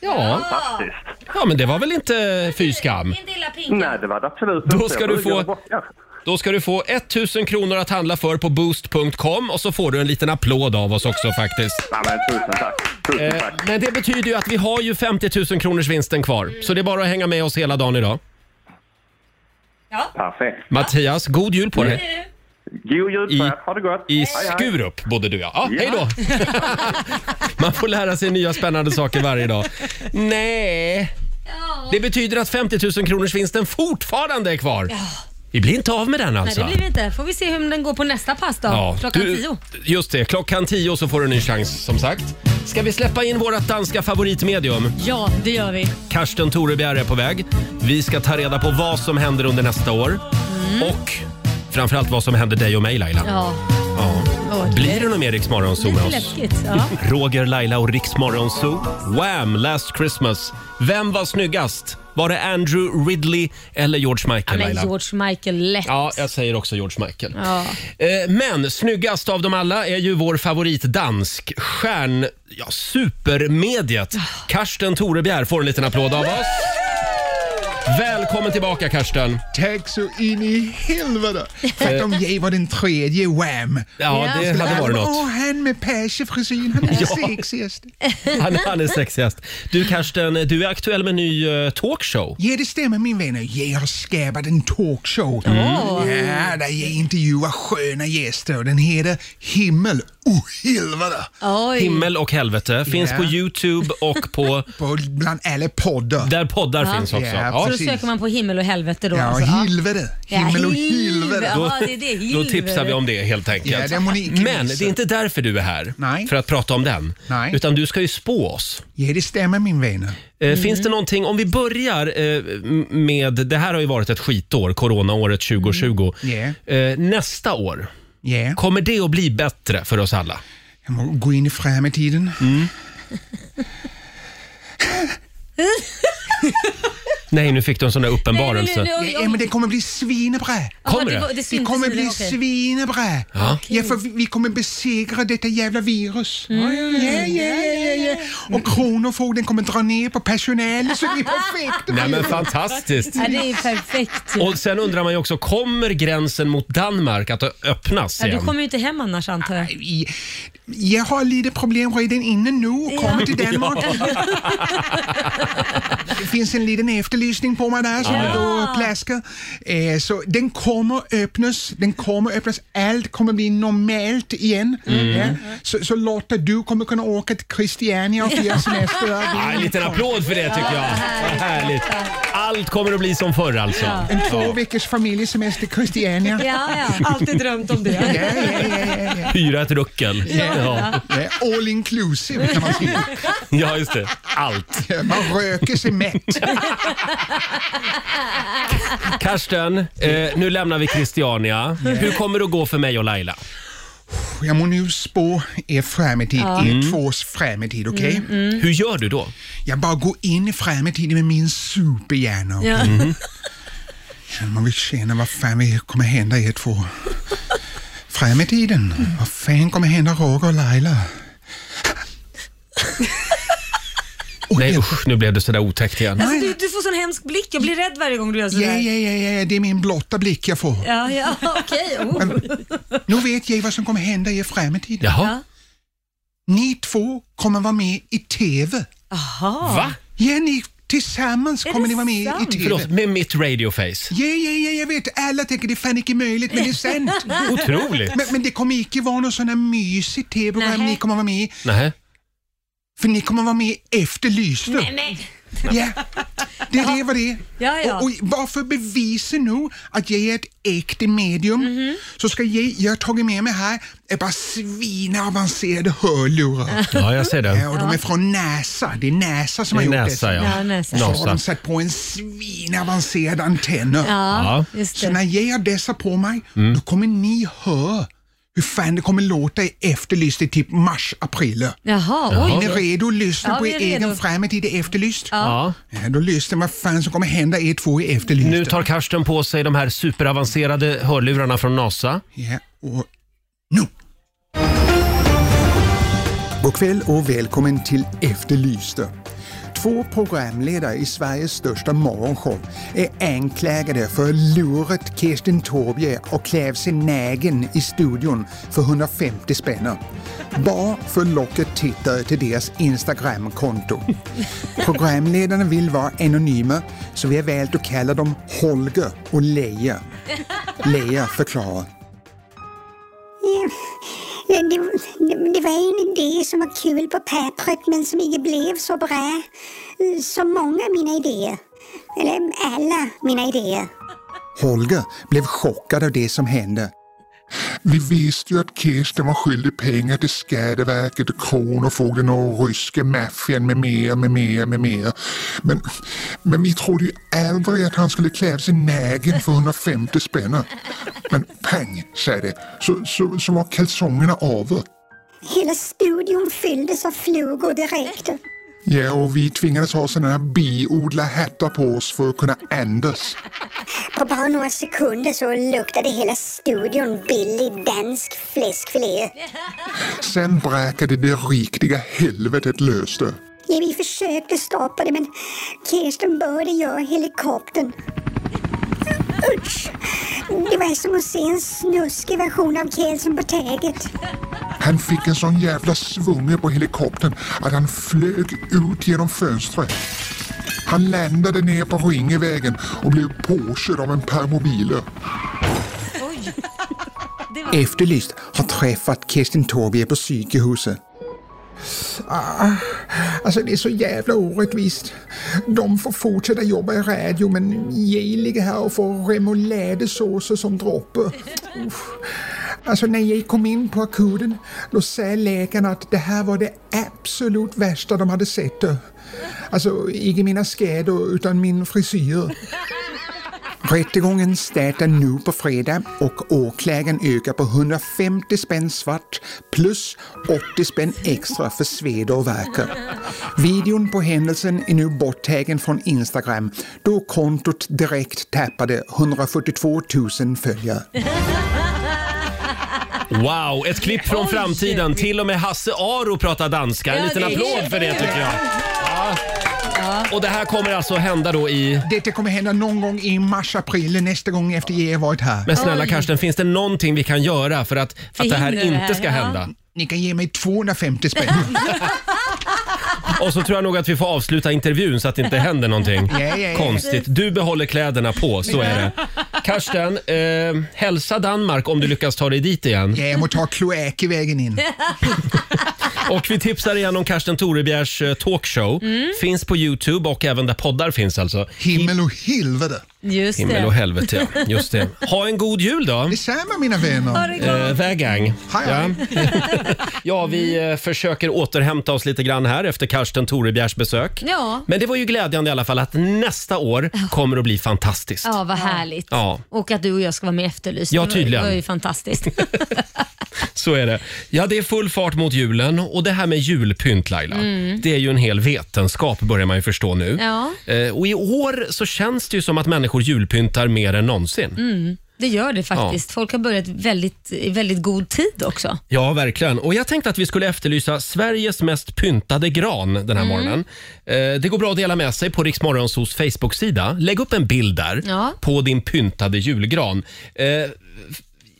Speaker 1: Ja.
Speaker 11: Faktiskt.
Speaker 1: ja, men det var väl inte fy skam.
Speaker 10: Inte illa pinkat.
Speaker 11: Nej, det var det absolut
Speaker 1: Då
Speaker 11: inte.
Speaker 1: ska
Speaker 11: Jag
Speaker 1: du
Speaker 11: brukar
Speaker 1: få-
Speaker 11: bort- ja.
Speaker 1: Då ska du få 1000 kronor att handla för på boost.com och så får du en liten applåd av oss också faktiskt.
Speaker 11: Nej, men tusen tack. Tusen
Speaker 1: Eh,
Speaker 11: tack.
Speaker 1: Men det betyder ju att vi har ju 50 000 kronors vinsten kvar. Så det är bara att hänga med oss hela dagen idag.
Speaker 11: Perfekt. Mm.
Speaker 1: Mattias, god jul på dig.
Speaker 11: God jul på
Speaker 1: I-
Speaker 11: er. Ha det gott.
Speaker 1: I
Speaker 11: Hej, hej.
Speaker 1: Skurup bodde du ja. ja
Speaker 11: Ja.
Speaker 1: hej då! Man får lära sig nya spännande saker varje dag. Nej. Det betyder att 50 000 kronors vinsten fortfarande är kvar. Vi blir inte av med den
Speaker 10: Nej,
Speaker 1: alltså.
Speaker 10: det blir vi inte. Får vi se hur den går på nästa pass då.
Speaker 1: Ja,
Speaker 10: Klockan
Speaker 1: du-
Speaker 10: tio.
Speaker 1: Just det, klockan tio så får du en ny chans som sagt. Ska vi släppa in vårt danska favoritmedium?
Speaker 10: Ja, det gör vi.
Speaker 1: Karsten Torebjer är på väg. Vi ska ta reda på vad som händer under nästa år.
Speaker 10: Mm.
Speaker 1: Och framförallt vad som händer dig och mig Laila.
Speaker 10: Ja.
Speaker 1: Ja. Blir det någon mer Rix Morgonzoo med
Speaker 10: Lite
Speaker 1: oss?
Speaker 10: läskigt. Ja.
Speaker 1: Roger, Laila och Rix Morgonzoo. Wham! Last Christmas. Vem var snyggast? Var det Andrew Ridley eller George Michael?
Speaker 10: Men
Speaker 1: Laila?
Speaker 10: George Michael lätt.
Speaker 1: Ja, jag säger också George Michael.
Speaker 10: Ja.
Speaker 1: Eh, Men snyggast av dem alla är ju vår favoritdansk, stjärn... Ja, supermediet. Karsten Torebjer får en liten applåd av oss. Välkommen tillbaka Karsten!
Speaker 12: Tack så in i helvete för att de ger den tredje Wham.
Speaker 1: Eh. Ja,
Speaker 10: Ja.
Speaker 1: det hade varit
Speaker 12: Åh,
Speaker 1: något.
Speaker 12: han med pagefrisyren, han är sexigast.
Speaker 1: Han, han är sexigast. Du Karsten, du är aktuell med en ny eh, talkshow.
Speaker 12: Ja, det stämmer min vänner. Jag har skapat en talkshow. Mm. Ja, där jag intervjuar sköna gäster och den heter Himmel och helvete.
Speaker 10: Oj.
Speaker 1: Himmel och helvete finns
Speaker 12: Ja.
Speaker 1: på Youtube och på
Speaker 12: På bland alla poddar.
Speaker 1: där poddar finns också.
Speaker 12: Ja,
Speaker 1: Ja.
Speaker 10: Så då
Speaker 12: precis.
Speaker 10: söker man på himmel och helvete då?
Speaker 12: Ja,
Speaker 10: alltså.
Speaker 12: helvete. Himmel och helvete.
Speaker 10: Ja, det är det.
Speaker 1: Då
Speaker 10: Helvete.
Speaker 1: tipsar vi om det helt enkelt.
Speaker 12: Ja, det är Monique
Speaker 1: Men
Speaker 12: Lise.
Speaker 1: det är inte därför du är här,
Speaker 12: Nej.
Speaker 1: för att prata om den.
Speaker 12: Nej.
Speaker 1: Utan du ska ju spå oss.
Speaker 12: Ja, det stämmer min vänner.
Speaker 1: Eh,
Speaker 10: Mm.
Speaker 1: Finns det någonting, om vi börjar eh, m- med, det här har ju varit ett skitår, coronaåret 2020.
Speaker 12: Mm.
Speaker 1: Eh, nästa år,
Speaker 12: Ja,
Speaker 1: kommer det att bli bättre för oss alla?
Speaker 12: jag måste gå in i framtiden.
Speaker 1: Mm. Nej, nu fick du en sån där uppenbarelse.
Speaker 10: Nej, nej, nej,
Speaker 12: Ja, men det kommer bli svinebra.
Speaker 1: Kommer
Speaker 10: Ja,
Speaker 1: det?
Speaker 10: var-
Speaker 12: Det
Speaker 10: syntes
Speaker 12: kommer
Speaker 10: i
Speaker 12: bli
Speaker 10: det, okej.
Speaker 12: svinebra. Ja. för vi, vi kommer besegra detta jävla virus.
Speaker 10: Mm.
Speaker 12: Ja, ja, ja, ja, ja. Och Kronofogden kommer dra ner på personalen så det är perfekt.
Speaker 1: Nej men fantastiskt!
Speaker 10: Ja, det är ju perfekt. ju.
Speaker 1: Och sen undrar man ju också, kommer gränsen mot Danmark att ö- öppnas
Speaker 10: Ja, du
Speaker 1: igen?
Speaker 10: kommer ju inte hem annars antar jag.
Speaker 12: I- Jag har lite problem redan innan nu och kommer till Danmark. det finns en liten efterlysning på mig där som
Speaker 5: Ja.
Speaker 12: jag då plaskar. Eh, så den kommer öppnas, den kommer öppnas, allt kommer bli normalt igen.
Speaker 1: Mm.
Speaker 12: Ja. Så, så Lotta, du kommer kunna åka till Christiania och fira semester. där.
Speaker 1: Ja, en liten applåd för det tycker jag. Vad härligt. Allt kommer att bli som förr alltså.
Speaker 12: Ja. En två veckors familjesemester i Christiania.
Speaker 10: Ja,
Speaker 2: Alltid drömt om det.
Speaker 1: Ja. Hyra ett ruckel. Ja.
Speaker 12: All inclusive kan man säga.
Speaker 1: ja, just det. Allt.
Speaker 12: Man röker sig mätt.
Speaker 1: Karsten, eh, nu lämnar vi Christiania. Hur kommer det att gå för mig och Laila?
Speaker 12: Jag må nu spå er framtid,
Speaker 1: Ja.
Speaker 12: er
Speaker 1: Mm.
Speaker 12: tvås framtid, okej?
Speaker 1: Mm, mm. Hur gör du då?
Speaker 12: Jag bara går in i framtiden med min superhjärna. okej?
Speaker 5: Ja. Mhm.
Speaker 12: Ja, Man vill känna vad fan vi kommer hända er två. Framtiden, vad fan kommer hända Roger och Laila?
Speaker 1: Nej usch, nu blev det sådär otäckt igen.
Speaker 10: Alltså, du, du får sån hemsk blick, jag blir rädd varje gång du gör
Speaker 12: Ja,
Speaker 10: sådär.
Speaker 12: ja, ja, ja, det är min blotta blick jag får.
Speaker 10: Ja, ja, okej. Oh.
Speaker 12: Nu vet jag vad som kommer hända i framtiden.
Speaker 1: Jaha.
Speaker 12: Ni två kommer vara med i TV.
Speaker 10: Aha.
Speaker 1: Va?
Speaker 12: Ja, ni tillsammans kommer ni vara med i TV.
Speaker 1: Förlåt, med mitt radioface.
Speaker 12: Ja, ja, ja, jag vet. Alla tänker det är fan icke möjligt, men det är sant.
Speaker 1: Otroligt.
Speaker 12: Men, men det kommer icke vara någon sån här mysig TV-program ni kommer vara med i,
Speaker 1: Nej.
Speaker 12: för ni kommer vara med efter Lyslö.
Speaker 10: nej.
Speaker 12: Ja, det är det vad det är.
Speaker 10: Ja, ja.
Speaker 12: Och, och bara för att bevisa nu att jag är ett äkta medium
Speaker 10: Mhm.
Speaker 12: så ska jag, jag har tagit med mig här är bara svinavancerade hörlurar.
Speaker 1: Ja, jag ser det.
Speaker 12: Ja, och de är från NASA. Det är NASA som
Speaker 1: Det är
Speaker 12: har gjort
Speaker 1: NASA,
Speaker 12: det.
Speaker 1: ja. Ja, NASA.
Speaker 12: Så har
Speaker 1: NASA.
Speaker 12: de satt på en svinavancerad antenn.
Speaker 1: Ja. Mm.
Speaker 10: just
Speaker 12: Så när jag har dessa på mig, då kommer ni höra hur fan det kommer låta i Efterlyst i typ mars, april.
Speaker 10: Jaha,
Speaker 12: Är
Speaker 10: oj.
Speaker 12: ni redo att lyssna
Speaker 10: Ja,
Speaker 12: på
Speaker 10: vi
Speaker 12: er
Speaker 10: är redo.
Speaker 12: egen framtid i Efterlyst?
Speaker 10: Ja.
Speaker 12: Ja, då lyssnar vad fan som kommer hända er två i Efterlyst.
Speaker 1: Nu tar Karsten på sig de här superavancerade hörlurarna från NASA.
Speaker 12: Ja, och nu! God kväll och välkommen till Efterlysta. Två programledare i Sveriges största morgonshow är anklagade för att lurat Kirsten Torbje och klävt sig nägen i studion för 150 spänn. Bara för att locka tittare till deras Instagramkonto. Programledarna vill vara anonyma så vi har valt att kalla dem Holger och Leia. Leia förklarar.
Speaker 13: Ja, men det, det, det var en idé som var kul på pappret men som inte blev så bra eh, som många av mina idéer. Eller alla mina idéer.
Speaker 12: Holger blev chockad av det som hände.
Speaker 14: Vi visste ju att Kirsten var skyldig pengar till Skatteverket, Kronofogden och ryska maffian med mer, med mer, med mer. Men, men vi trodde ju aldrig att han skulle klä sig nägen för 150 spänn. Men pang, sa det, så, så, så var kalsongerna över.
Speaker 13: Hela studion fylldes av flugor direkt.
Speaker 14: Ja, och vi tvingades ha sådana här biodlarhattar på oss för att kunna andas.
Speaker 13: På bara några sekunder så luktade hela studion billig dansk fläskfilé.
Speaker 14: Sen brakade det riktiga helvetet löst.
Speaker 13: Ja, vi försökte stoppa det men Kirsten började göra helikoptern. Usch! Det var som att se en snuskig version av Kelsen på täget.
Speaker 14: Han fick en sån jävla svunge på helikoptern att han flög ut genom fönstret. Han landade ner på Ringevägen och blev påkörd av en permobiler.
Speaker 12: Efterlyst har träffat Kirsten Torbje på psykehuset. Ah, alltså det är så jävla orättvist. De får fortsätta jobba i radio men jag ligger här och får remouladesåser som droppe. Uff. Alltså när jag kom in på akuten då sa läkarna att det här var det absolut värsta de hade sett. Alltså inte mina skador utan min frisyr. Rättegången startar nu på fredag och åklagaren ökar på 150 spänn svart plus 80 spänn extra för sveda och verkar. Videon på händelsen är nu borttagen från Instagram då kontot direkt tappade 142 000 följare.
Speaker 1: Wow, ett klipp från
Speaker 5: Oj.
Speaker 1: framtiden. Till och med Hasse Aro pratar danska. En
Speaker 5: Ja,
Speaker 1: liten
Speaker 5: det är
Speaker 1: applåd
Speaker 5: helt
Speaker 1: för det tycker jag.
Speaker 12: Ja.
Speaker 1: Och det här kommer alltså hända då i...
Speaker 12: Detta kommer hända någon gång i mars-april nästa gång efter jag har varit här.
Speaker 1: Men snälla Karsten, finns det någonting vi kan göra för att, att det här
Speaker 12: Förhindra det
Speaker 1: inte
Speaker 12: här,
Speaker 1: ska
Speaker 12: ja.
Speaker 1: hända?
Speaker 12: Ni kan ge mig 250 spänn.
Speaker 1: Och så tror jag nog att vi får avsluta intervjun så att det inte händer någonting
Speaker 15: Ja, ja, ja.
Speaker 1: konstigt. Du behåller kläderna på, så är det. Karsten, eh, hälsa Danmark om du lyckas ta dig dit igen.
Speaker 12: Ja, jag må ta kloak i vägen in.
Speaker 1: Och vi tipsar igen om Karsten Torebjärs eh, talkshow.
Speaker 12: Mm.
Speaker 1: Finns på Youtube och även där poddar finns alltså.
Speaker 12: Himmel och helvete.
Speaker 4: Just
Speaker 1: Himmel och helvete, ja. Just det. Ha en god jul då.
Speaker 12: Detsamma mina vänner.
Speaker 4: Ha det gott.
Speaker 1: Eh, vägang. Ja. ja, vi eh, försöker återhämta oss lite grann här efter Karsten Torebjärs besök.
Speaker 4: Ja.
Speaker 1: Men det var ju glädjande i alla fall att nästa år kommer att bli fantastiskt.
Speaker 4: ja, vad härligt.
Speaker 1: Ja,
Speaker 4: Och att du och jag ska vara med i Efterlyst.
Speaker 1: Ja,
Speaker 4: Det var-
Speaker 1: tydligen.
Speaker 4: Det var ju fantastiskt.
Speaker 1: så är det. Ja, det är full fart mot julen och det här med julpynt Laila,
Speaker 4: Mm.
Speaker 1: det är ju en hel vetenskap börjar man ju förstå nu.
Speaker 4: ja.
Speaker 1: Eh, Och i år så känns det ju som att människor julpyntar mer än någonsin.
Speaker 4: Mm. Det gör det faktiskt. Folk har börjat väldigt, i väldigt god tid också.
Speaker 1: Ja, verkligen. Och jag tänkte att vi skulle efterlysa Sveriges mest pyntade gran den här
Speaker 4: Mm.
Speaker 1: morgonen. Eh, det går bra att dela med sig på Riksmorgonsos Facebook-sida. Lägg upp en bild där
Speaker 4: Ja.
Speaker 1: på din pyntade julgran. Eh,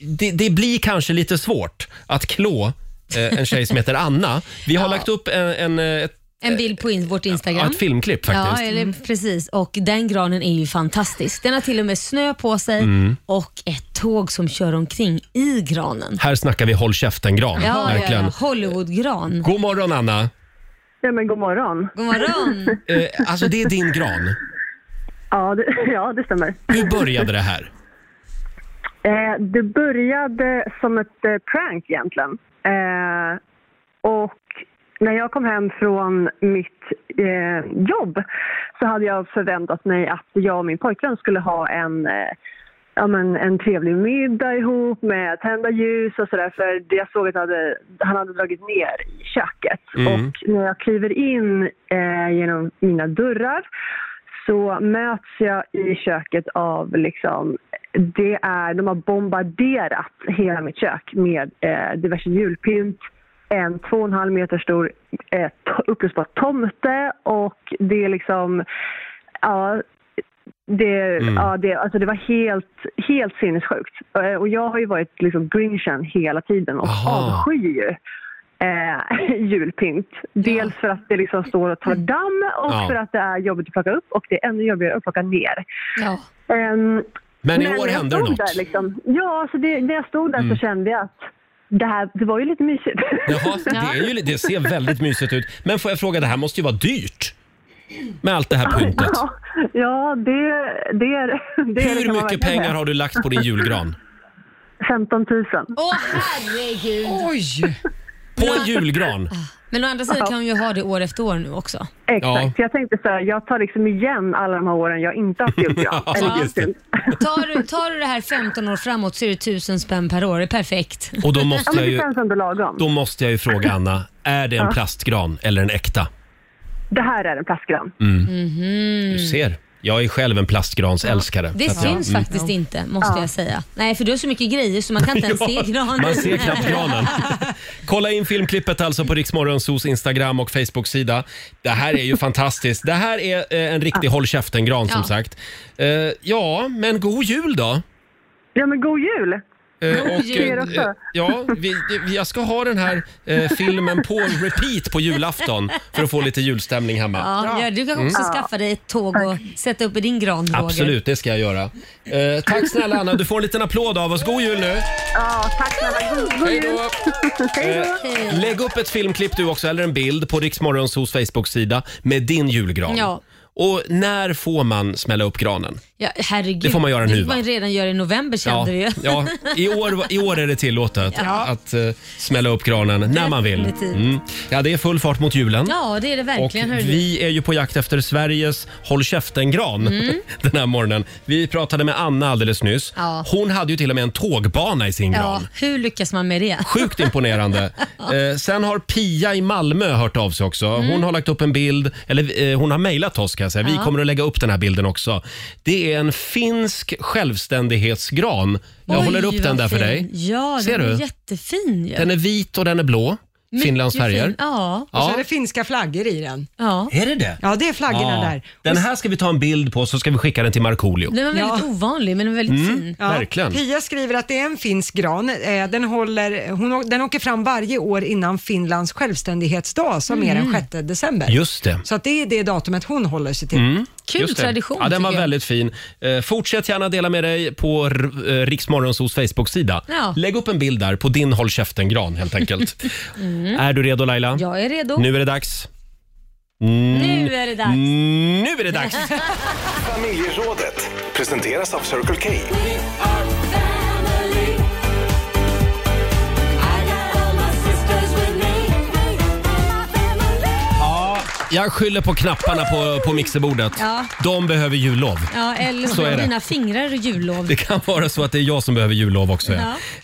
Speaker 1: det, det blir kanske lite svårt att klå eh, en tjej som heter Anna. Vi har lagt upp en, en, eh, ett,
Speaker 4: En bild på in, vårt Instagram.
Speaker 1: Eh, ja, ett filmklipp faktiskt. Mm.
Speaker 4: Ja, eller, precis. Och den granen är ju fantastisk. Den har till och med snö på sig
Speaker 1: Mm.
Speaker 4: och ett tåg som kör omkring i granen.
Speaker 1: Här snackar vi håll käften-gran.
Speaker 4: Ja, ja,
Speaker 1: verkligen.
Speaker 4: ja. Hollywoodgran.
Speaker 1: God morgon Anna.
Speaker 8: Ja, men god morgon.
Speaker 4: God morgon.
Speaker 1: Eh, alltså det är din gran.
Speaker 8: ja, det, ja, det stämmer.
Speaker 1: Hur började det här?
Speaker 8: Eh, det började som ett eh, prank egentligen. Eh, och när jag kom hem från mitt eh, jobb så hade jag förväntat mig att jag och min pojkvän skulle ha en, eh, ja, men en trevlig middag ihop med tända ljus och sådär för det jag såg att han hade, han hade dragit ner i köket.
Speaker 15: Mm.
Speaker 8: Och när jag kliver in eh, genom mina dörrar så möts jag i köket av liksom det är, de har bombarderat hela mitt kök med eh, diverse julpynt, en två och en halv meter stor eh, to- uppblåsbar tomte och det är liksom, ja, det,
Speaker 15: Mm.
Speaker 8: ja, det, alltså det var helt, helt sinnessjukt. Eh, Och jag har ju varit liksom grinchen hela tiden och avskyr ju eh, julpynt. Dels för att det liksom står och tar damm och
Speaker 1: Ja.
Speaker 8: för att det är jobbigt att plocka upp och det är ännu jobbigare att plocka ner. Ehm,
Speaker 1: Men i
Speaker 8: när
Speaker 1: år
Speaker 8: jag
Speaker 1: hände det
Speaker 8: stod
Speaker 1: något.
Speaker 8: Där, liksom, ja, alltså det, när jag stod där
Speaker 1: Mm.
Speaker 8: så kände jag att det, här, det var ju lite mysigt.
Speaker 1: Jaha, det, är ju, det ser väldigt mysigt ut. Men får jag fråga, det här måste ju vara dyrt? Med allt det här pyntet.
Speaker 8: Ja, ja det, det är det. är det
Speaker 1: Hur
Speaker 8: kan man
Speaker 1: mycket
Speaker 8: verkligen
Speaker 1: pengar
Speaker 8: säga.
Speaker 1: har du lagt på din julgran?
Speaker 8: 15 000.
Speaker 4: Åh herregud!
Speaker 2: Oj!
Speaker 1: På en julgran?
Speaker 4: Men å andra sidan kan hon ju ha det år efter år nu också.
Speaker 8: Exakt, så jag tänkte så här, jag tar liksom igen alla de här åren jag inte haft julgran.
Speaker 4: Ja,
Speaker 8: Eller
Speaker 4: just
Speaker 8: julpynt.
Speaker 4: Tar du, tar du det här 15 år framåt så är det 1000 spänn per år. Det är perfekt.
Speaker 1: Och då måste jag ju-
Speaker 8: ändå lagom.
Speaker 1: Då måste jag ju fråga Anna, är det en
Speaker 4: Ja.
Speaker 1: plastgran eller en äkta?
Speaker 8: Det här är en plastgran.
Speaker 1: Mm.
Speaker 4: Mhm.
Speaker 1: Du ser, jag är själv en plastgransälskare.
Speaker 4: Det
Speaker 1: Så att jag-
Speaker 4: syns
Speaker 1: mm.
Speaker 4: faktiskt inte, måste
Speaker 8: Ja.
Speaker 4: jag säga. Nej, för du har så mycket grejer så man kan inte ens
Speaker 1: Ja,
Speaker 4: se granen.
Speaker 1: Man ser knappt granen. Kolla in filmklippet alltså på Riksmorgonsos Instagram och Facebook-sida. Det här är ju fantastiskt. Det här är eh, en riktig håll käften-gran som
Speaker 8: Ja.
Speaker 1: sagt. Eh, Ja, men god jul då!
Speaker 8: Ja, men god jul!
Speaker 1: Eh,
Speaker 8: God
Speaker 1: och,
Speaker 8: jul.
Speaker 1: eh, eh, ja, vi, vi- jag ska ha den här eh, filmen på repeat på julafton för att få lite julstämning hemma.
Speaker 4: Ja, ja, du kan också
Speaker 1: Mm.
Speaker 4: skaffa dig ett tåg och sätta upp i din gran, Roger.
Speaker 1: Absolut, det ska jag göra. Eh, tack snälla Anna, du får en liten applåd av oss. God jul nu!
Speaker 8: Ja, tack snälla. God, god
Speaker 1: Hej
Speaker 8: jul!
Speaker 1: Eh, lägg upp ett filmklipp du också, eller en bild på Riksmorgonsos Facebook-sida med din julgran.
Speaker 4: Ja.
Speaker 1: Och när får man smälla upp granen?
Speaker 4: Ja, herregud.
Speaker 1: Det får man göra
Speaker 4: Det
Speaker 1: nu,
Speaker 4: får man redan göra i november
Speaker 1: Ja,
Speaker 4: kände du ju.
Speaker 1: ja, i, år, I år är det tillåtet
Speaker 4: Ja.
Speaker 1: att eh, smälla upp granen när man vill. Mm.
Speaker 4: Definitivt.
Speaker 1: Ja, det är full fart mot julen.
Speaker 4: Ja, det är det verkligen.
Speaker 1: Och
Speaker 4: hörru.
Speaker 1: vi är ju på jakt efter Sveriges håll käften-gran
Speaker 4: Mm.
Speaker 1: den här morgonen. Vi pratade med Anna alldeles nyss.
Speaker 4: Ja.
Speaker 1: Hon hade ju till och med en tågbana i sin
Speaker 4: ja,
Speaker 1: gran.
Speaker 4: hur lyckas man med det?
Speaker 1: Sjukt imponerande. Eh, sen har Pia i Malmö hört av sig också. Hon har lagt upp en bild, eller eh, hon har mejlat oss kan jag säga. Vi
Speaker 4: Mm. Ja.
Speaker 1: kommer att lägga upp den här bilden också. Det är en finsk självständighetsgran. Jag
Speaker 4: Oj,
Speaker 1: håller upp den
Speaker 4: vad
Speaker 1: där för
Speaker 4: fin.
Speaker 1: dig.
Speaker 4: Ja,
Speaker 1: Ser
Speaker 4: den
Speaker 1: du?
Speaker 4: är jättefin ju.
Speaker 1: Den är vit och den är blå. Finlands färger.
Speaker 2: Ja. Och så
Speaker 1: Ja.
Speaker 2: är det finska flaggor i den.
Speaker 4: Ja.
Speaker 1: Är det det?
Speaker 2: Ja, det är flaggorna
Speaker 1: Ja.
Speaker 2: där.
Speaker 1: Den här ska vi ta en bild på så ska vi skicka den till Markoolio.
Speaker 4: Den var väldigt ovanlig men den var väldigt
Speaker 1: Mm,
Speaker 4: fin.
Speaker 1: verkligen.
Speaker 2: Pia skriver att det är en finsk gran. Eh, Den, håller, hon, å- den åker fram varje år innan Finlands självständighetsdag som är den
Speaker 1: Mm.
Speaker 2: 6 december.
Speaker 1: Just det.
Speaker 2: Så att det är det datumet hon håller sig till.
Speaker 1: Mm, just det. Ja, den var väldigt fin. Eh, fortsätt gärna dela med dig på R- eh, Riksmorgonsos Facebook-sida.
Speaker 4: Ja.
Speaker 1: Lägg upp en bild där på din håll käften-gran helt enkelt.
Speaker 4: Mm.
Speaker 1: Är du redo Laila?
Speaker 4: Jag är redo.
Speaker 1: Nu är det dags. Mm.
Speaker 4: Nu är det dags.
Speaker 1: Nu är det dags.
Speaker 3: Familjerådet presenteras av Circle K.
Speaker 1: Ja, jag skyller på knapparna på, på mixerbordet.
Speaker 4: Ja.
Speaker 1: De behöver jullov.
Speaker 4: Ja, eller så
Speaker 1: Så är
Speaker 4: är
Speaker 1: det.
Speaker 4: dina fingrar är jullov.
Speaker 1: Det kan vara så att det är jag som behöver jullov också.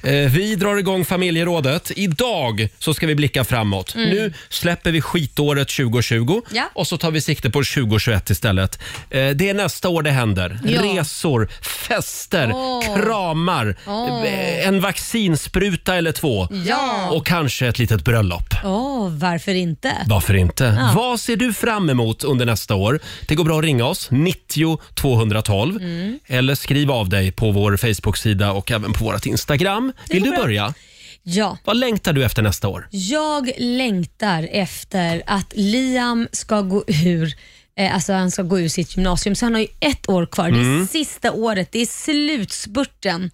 Speaker 1: Ja. Eh, Vi drar igång familjerådet. Idag så ska vi blicka framåt.
Speaker 4: Mm.
Speaker 1: Nu släpper vi skitåret 2020
Speaker 4: Ja.
Speaker 1: och så tar vi sikte på 2021 istället. Eh, Det är nästa år det händer.
Speaker 4: Ja.
Speaker 1: Resor, fester,
Speaker 4: Åh.
Speaker 1: kramar,
Speaker 4: Åh.
Speaker 1: eh, en vaccinspruta eller två
Speaker 4: Ja.
Speaker 1: och kanske ett litet bröllop.
Speaker 4: Åh, varför inte?
Speaker 1: Varför inte?
Speaker 4: Ja.
Speaker 1: Vad ser du fram emot under nästa år? Det går bra att ringa oss, 90 212.
Speaker 4: Mm.
Speaker 1: Eller skriv av dig på vår Facebook-sida och även på vårt Instagram.
Speaker 4: Det
Speaker 1: Vill
Speaker 4: går
Speaker 1: du
Speaker 4: bra.
Speaker 1: börja?
Speaker 4: Ja.
Speaker 1: Vad längtar du efter nästa år?
Speaker 4: Jag längtar efter att Liam ska gå ur eh, Alltså han ska gå ur sitt gymnasium, så han har ju ett år kvar. Det är
Speaker 1: Mm.
Speaker 4: sista året, det är slutspurten.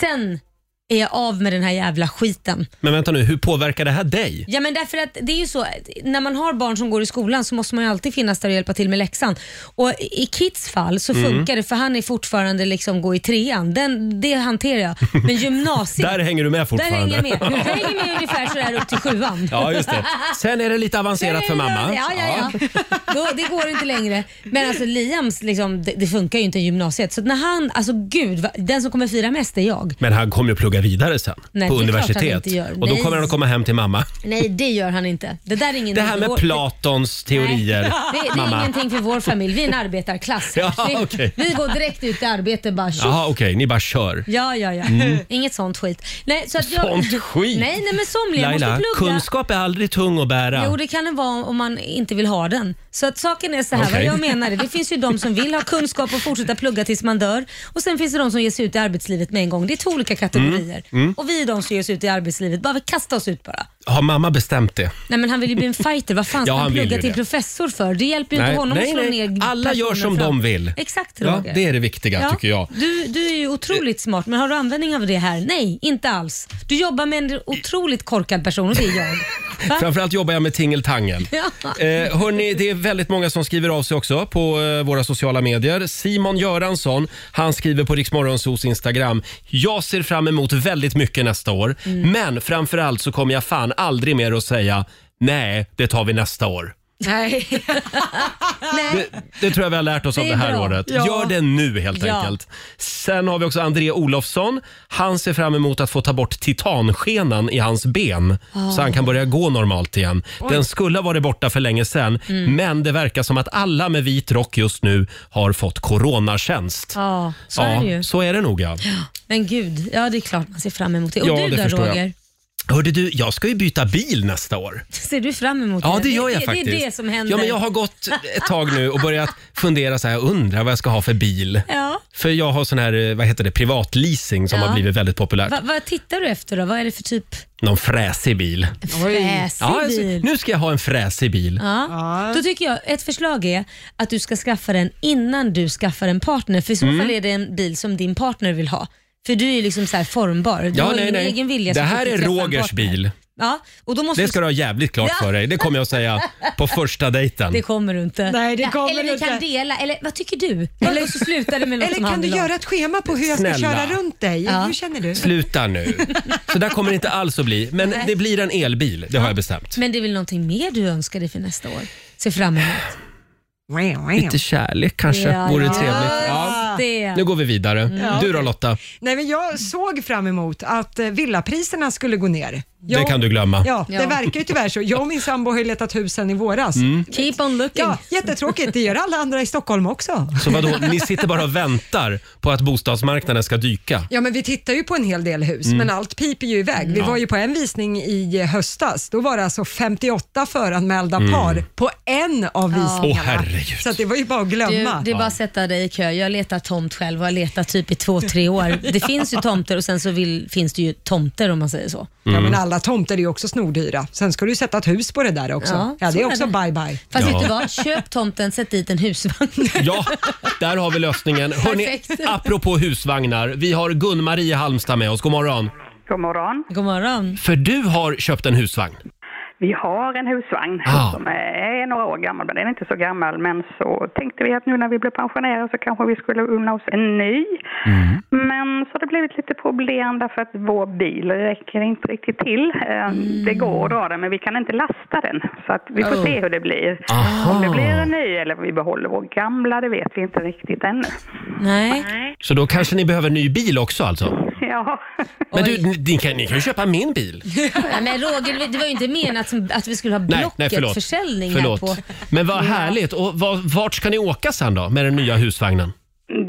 Speaker 4: Sen är jag av med den här jävla skiten.
Speaker 1: Men vänta nu, hur påverkar det här dig?
Speaker 4: Ja men därför att det är ju så, när man har barn som går i skolan så måste man ju alltid finnas där och hjälpa till med läxan. Och i Kits fall så
Speaker 1: Mm.
Speaker 4: funkar det för han är fortfarande liksom gå i trean. Den, det hanterar jag. Men gymnasiet,
Speaker 1: Där hänger du med
Speaker 4: där
Speaker 1: fortfarande.
Speaker 4: hänger jag med. Jag hänger med ungefär sådär upp till sjuan.
Speaker 1: Ja, just det. Sen är det lite avancerat för mamma.
Speaker 4: Ja, ja, ja. Då, det går inte längre. Men alltså Liams, liksom, det, det funkar ju inte i gymnasiet. Så att när han, alltså gud, va- den som kommer fira mest är jag.
Speaker 1: Men han kommer ju plugga vidare sen
Speaker 4: Nej,
Speaker 1: på
Speaker 4: det är klart han
Speaker 1: universitet.
Speaker 4: inte gör.
Speaker 1: Och då
Speaker 4: Nej.
Speaker 1: kommer han att komma hem till mamma.
Speaker 4: Nej, det gör han inte. Det där är ingen
Speaker 1: Det här med Platons teorier,
Speaker 4: Det, det är
Speaker 1: mamma.
Speaker 4: ingenting för vår familj. Vi är en arbetarklass.
Speaker 1: Ja,
Speaker 4: vi,
Speaker 1: okej.
Speaker 4: vi går direkt ut i arbete bara tjoff.
Speaker 1: Jaha, okej, ni bara kör.
Speaker 4: Ja, ja, ja.
Speaker 1: Mm.
Speaker 4: Inget sånt skit. Nej, så att jag,
Speaker 1: Sånt skit?
Speaker 4: Nej, nej men somliga
Speaker 1: Laila,
Speaker 4: måste plugga.
Speaker 1: kunskap är aldrig tung att bära.
Speaker 4: Jo, det kan det vara om man inte vill ha den. Så att saken är så här,
Speaker 1: Okej.
Speaker 4: vad jag menar är, det finns ju de som vill ha kunskap och fortsätta plugga tills man dör och sen finns det de som ger sig ut i arbetslivet med en gång. Det är två olika kategorier.
Speaker 1: Mm, mm.
Speaker 4: Och vi är de som ger sig ut i arbetslivet, bara vi kastar oss ut bara.
Speaker 1: Har mamma bestämt det?
Speaker 4: Nej men han vill ju bli en fighter, vad fan ska
Speaker 1: Ja,
Speaker 4: han
Speaker 1: han vill
Speaker 4: plugga
Speaker 1: ju
Speaker 4: till
Speaker 1: det.
Speaker 4: professor för? Det hjälper ju
Speaker 1: Nej,
Speaker 4: inte honom
Speaker 1: nej,
Speaker 4: att slå
Speaker 1: nej.
Speaker 4: ner
Speaker 1: Alla gör
Speaker 4: personer
Speaker 1: som
Speaker 4: fram.
Speaker 1: de vill.
Speaker 4: Exakt
Speaker 1: Ja,
Speaker 4: Roger.
Speaker 1: det är det viktiga tycker jag. Eh.
Speaker 4: Du, du är ju otroligt smart, men har du användning av det här? Nej, inte alls. Du jobbar med en otroligt korkad person och det är jag. Va?
Speaker 1: Framförallt jobbar jag med tingeltangel.
Speaker 4: Ja.
Speaker 1: Eh, hörni, det är väldigt många som skriver av sig också på eh, våra sociala medier. Simon Göransson, han skriver på Riksmorgonsos Instagram. Jag ser fram emot väldigt mycket nästa år,
Speaker 4: Mm.
Speaker 1: men framförallt så kommer jag fan aldrig mer att säga nej, det tar vi nästa år.
Speaker 4: Nej. Nej.
Speaker 1: Det tror jag vi har lärt oss
Speaker 4: Det
Speaker 1: av
Speaker 4: är
Speaker 1: det här
Speaker 4: bra.
Speaker 1: året.
Speaker 4: Ja.
Speaker 1: Gör det nu helt
Speaker 4: Ja.
Speaker 1: enkelt. Sen har vi också André Olofsson. Han ser fram emot att få ta bort titanskenan i hans ben
Speaker 5: Ah.
Speaker 1: så han kan börja gå normalt igen.
Speaker 5: Oj.
Speaker 1: Den skulle ha varit borta för länge sedan
Speaker 5: Mm.
Speaker 1: men det verkar som att alla med vit rock just nu har fått coronatjänst.
Speaker 4: Ja, så är det ju.
Speaker 1: så är det nog ja.
Speaker 4: Men gud, ja det är klart man ser fram emot det. Och
Speaker 1: Ja,
Speaker 4: du
Speaker 1: det
Speaker 4: då
Speaker 1: förstår jag.
Speaker 4: Roger?
Speaker 1: Hörde du, jag ska ju byta bil nästa år.
Speaker 4: Ser du fram emot
Speaker 1: Ja,
Speaker 4: det?
Speaker 1: det gör jag
Speaker 4: det,
Speaker 1: faktiskt.
Speaker 4: Det är det som händer.
Speaker 1: Ja, men jag har gått ett tag nu och börjat fundera så här, undrar vad jag ska ha för bil.
Speaker 4: Ja.
Speaker 1: För jag har sån här, eh, vad heter det, privatleasing som
Speaker 4: Ja.
Speaker 1: har blivit väldigt populärt.
Speaker 4: Va, vad tittar du efter då? Vad är det för typ
Speaker 1: Någon fräsig bil.
Speaker 4: fräsig
Speaker 1: Ja, alltså,
Speaker 4: bil?
Speaker 1: nu ska jag ha en fräsig bil.
Speaker 4: Ja. Då tycker jag ett förslag är att du ska skaffa den innan du skaffar en partner. För i så
Speaker 1: Mm.
Speaker 4: fall är det en bil som din partner vill ha. För du är ju liksom så här formbar. Du
Speaker 1: Ja,
Speaker 4: har ju
Speaker 1: nej,
Speaker 4: ingen
Speaker 1: nej.
Speaker 4: egen vilja.
Speaker 1: Det
Speaker 4: så
Speaker 1: här
Speaker 4: fort du
Speaker 1: är
Speaker 4: träffar en
Speaker 1: Rogers
Speaker 4: partner.
Speaker 1: bil.
Speaker 4: Ja, och då måste
Speaker 1: Det ska du ha jävligt klart
Speaker 4: Ja.
Speaker 1: för dig. Det kommer jag säga på första dejten.
Speaker 4: Det kommer du inte.
Speaker 2: Nej, det
Speaker 4: Ja,
Speaker 2: kommer
Speaker 4: eller
Speaker 2: du
Speaker 4: vi kan
Speaker 2: inte.
Speaker 4: dela, eller vad tycker du? Eller så slutar det med något
Speaker 2: Eller
Speaker 4: som
Speaker 2: kan
Speaker 4: han
Speaker 2: du
Speaker 4: vill ha.
Speaker 2: göra ett schema på hur jag ska
Speaker 1: Snälla.
Speaker 2: köra runt dig?
Speaker 4: Ja.
Speaker 2: Hur känner du?
Speaker 1: Sluta nu. Så där kommer det inte alls att bli. Men
Speaker 4: Nej.
Speaker 1: det blir en elbil, det har jag bestämt.
Speaker 4: Men det är väl någonting mer du önskar dig för nästa år? Se fram emot.
Speaker 1: Lite kärlek kanske
Speaker 2: Ja,
Speaker 1: vore
Speaker 2: ja.
Speaker 1: trevligt.
Speaker 2: Ja, det.
Speaker 1: Nu går vi vidare.
Speaker 2: Mm. Ja,
Speaker 1: Du då
Speaker 2: okej.
Speaker 1: Lotta?
Speaker 2: Nej, men jag såg fram emot att eh, villapriserna skulle gå ner.
Speaker 1: Det kan du glömma.
Speaker 2: Ja, det verkar ju tyvärr så. Jag och min sambo har ju letat hus sen i våras.
Speaker 1: Mm.
Speaker 10: Keep on looking.
Speaker 2: Ja, jättetråkigt. Det gör alla andra i Stockholm också.
Speaker 1: Så vadå, ni sitter bara och väntar på att bostadsmarknaden ska dyka?
Speaker 2: Ja, men vi tittar ju på en hel del hus,
Speaker 1: Mm.
Speaker 2: men allt piper ju iväg. Vi
Speaker 1: Ja.
Speaker 2: var ju på en visning i eh, höstas. Då var det alltså 58 föranmälda
Speaker 1: Mm.
Speaker 2: par på en av
Speaker 10: Ja.
Speaker 2: visningarna.
Speaker 10: Åh, herregud.
Speaker 2: Så att det var ju bara att glömma.
Speaker 10: Du, det är bara att sätta dig i kö. Jag letar tomt själv och har letat typ i två, tre år. Det finns ju tomter och sen så vill, finns det ju tomter om man säger så.
Speaker 2: Ja,
Speaker 1: Mm.
Speaker 2: men alla tomter är ju också snordyra. Sen ska du ju sätta ett hus på det där också.
Speaker 10: Ja,
Speaker 2: Ja,
Speaker 10: så
Speaker 2: det är
Speaker 10: är
Speaker 2: också
Speaker 10: det.
Speaker 2: bye-bye.
Speaker 10: Fast
Speaker 1: Ja.
Speaker 10: vet du vad? Köp tomten, sätt dit en husvagn.
Speaker 1: Ja, där har vi lösningen. Hörrni,
Speaker 10: Perfekt.
Speaker 1: apropå husvagnar, vi har Gun-Marie Halmstad med oss. God morgon.
Speaker 16: God morgon.
Speaker 10: God morgon.
Speaker 1: För du har köpt en husvagn.
Speaker 16: Vi har en husvagn
Speaker 1: Ah.
Speaker 16: som är några år gammal, men den är inte så gammal. Men så tänkte vi att nu när vi blev pensionärer så kanske vi skulle unna oss en ny. Men så har det blivit lite problem därför att vår bil räcker inte riktigt till. Eh, Det går att dra den, men vi kan inte lasta den. Så att vi får
Speaker 15: Oh.
Speaker 16: se hur det blir. Om det blir en ny eller vi behåller vår gamla, det vet vi inte riktigt ännu.
Speaker 10: Nej.
Speaker 1: Så då kanske ni behöver en ny bil också alltså?
Speaker 16: Ja.
Speaker 1: Men du, ni- ni kan, ni kan ju köpa min bil.
Speaker 10: Nej, men Roger, det var ju inte menat som att vi skulle ha
Speaker 1: Nej, nej
Speaker 10: blocket
Speaker 1: förlåt.
Speaker 10: försäljning här
Speaker 1: förlåt.
Speaker 10: på.
Speaker 1: Men vad härligt. Och var, vart ska ni åka sen då med den nya husvagnen?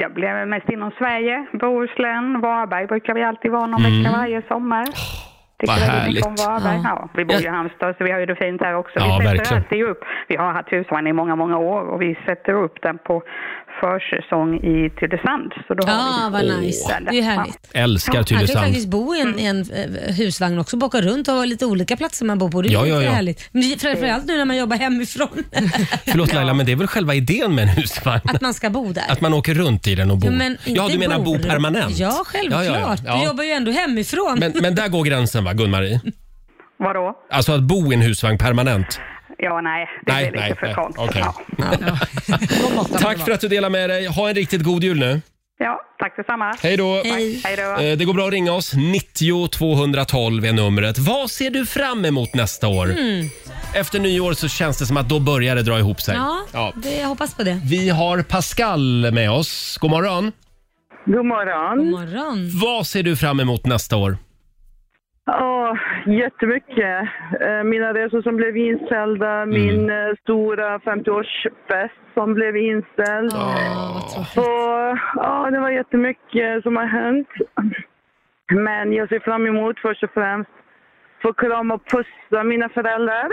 Speaker 16: Det blir mest inom Sverige, Bohuslän, Varberg brukar vi alltid vara någon
Speaker 1: Mm.
Speaker 16: vecka varje sommar. Tycker
Speaker 1: vad
Speaker 16: väldigt mycket
Speaker 1: härligt.
Speaker 16: Om Varberg.
Speaker 1: Ja.
Speaker 16: Ja. vi bor ju i Halmstad så vi har ju det fint här också.
Speaker 1: Ja,
Speaker 16: vi sätter
Speaker 1: verkligen.
Speaker 16: alltid upp, vi har haft husvagn i många, många år och vi sätter upp den på försäsong i Tylösand. Så då
Speaker 10: Ja,
Speaker 16: har vi
Speaker 10: Ah, vad nice. Det är ju härligt.
Speaker 1: Älskar
Speaker 10: Man kan ju
Speaker 1: Tylösand.
Speaker 10: faktiskt bo i en, i en eh, husvagn också, bocka runt och ha lite olika platser man bor på. Det är
Speaker 1: Ja,
Speaker 10: ju
Speaker 1: ja,
Speaker 10: lite
Speaker 1: ja.
Speaker 10: härligt. Men det är Framförallt nu när man jobbar hemifrån,
Speaker 1: Förlåt Laila, men det är väl själva idén med en husvagn?
Speaker 10: att man ska bo där.
Speaker 1: Att man åker runt i den och bor.
Speaker 10: Ja, men inte
Speaker 1: ja du menar bo
Speaker 10: bor.
Speaker 1: permanent?
Speaker 10: Ja, självklart. Du jobbar ju ändå hemifrån.
Speaker 1: Men, men där går gränsen va, Gun-Marie?
Speaker 16: Vadå?
Speaker 1: Alltså att bo i en husvagn permanent?
Speaker 16: Ja, nej, det
Speaker 1: nej,
Speaker 16: blir lite
Speaker 1: nej,
Speaker 16: för
Speaker 1: nej.
Speaker 16: konstigt.
Speaker 1: Okej.
Speaker 16: Ja.
Speaker 1: Tack för att du delar med dig. Ha en riktigt god jul nu.
Speaker 16: ja, tack detsamma.
Speaker 1: Hej då.
Speaker 16: Hej. Hej då.
Speaker 1: Eh, Det går bra att ringa oss. 90 212 är numret. Vad ser du fram emot nästa år?
Speaker 10: Mm.
Speaker 1: Efter nyår så känns det som att då börjar det dra ihop sig.
Speaker 10: Ja, Det, jag hoppas på det.
Speaker 1: Vi har Pascal med oss. God morgon.
Speaker 17: God morgon.
Speaker 10: God morgon.
Speaker 1: Vad ser du fram emot nästa år?
Speaker 17: Ja, jättemycket. Eh, Mina resor som blev inställda, min eh, stora 50-årsfest som blev inställd. Och, ja, det var jättemycket som har hänt. Men jag ser fram emot först och främst få krama och pussa mina föräldrar.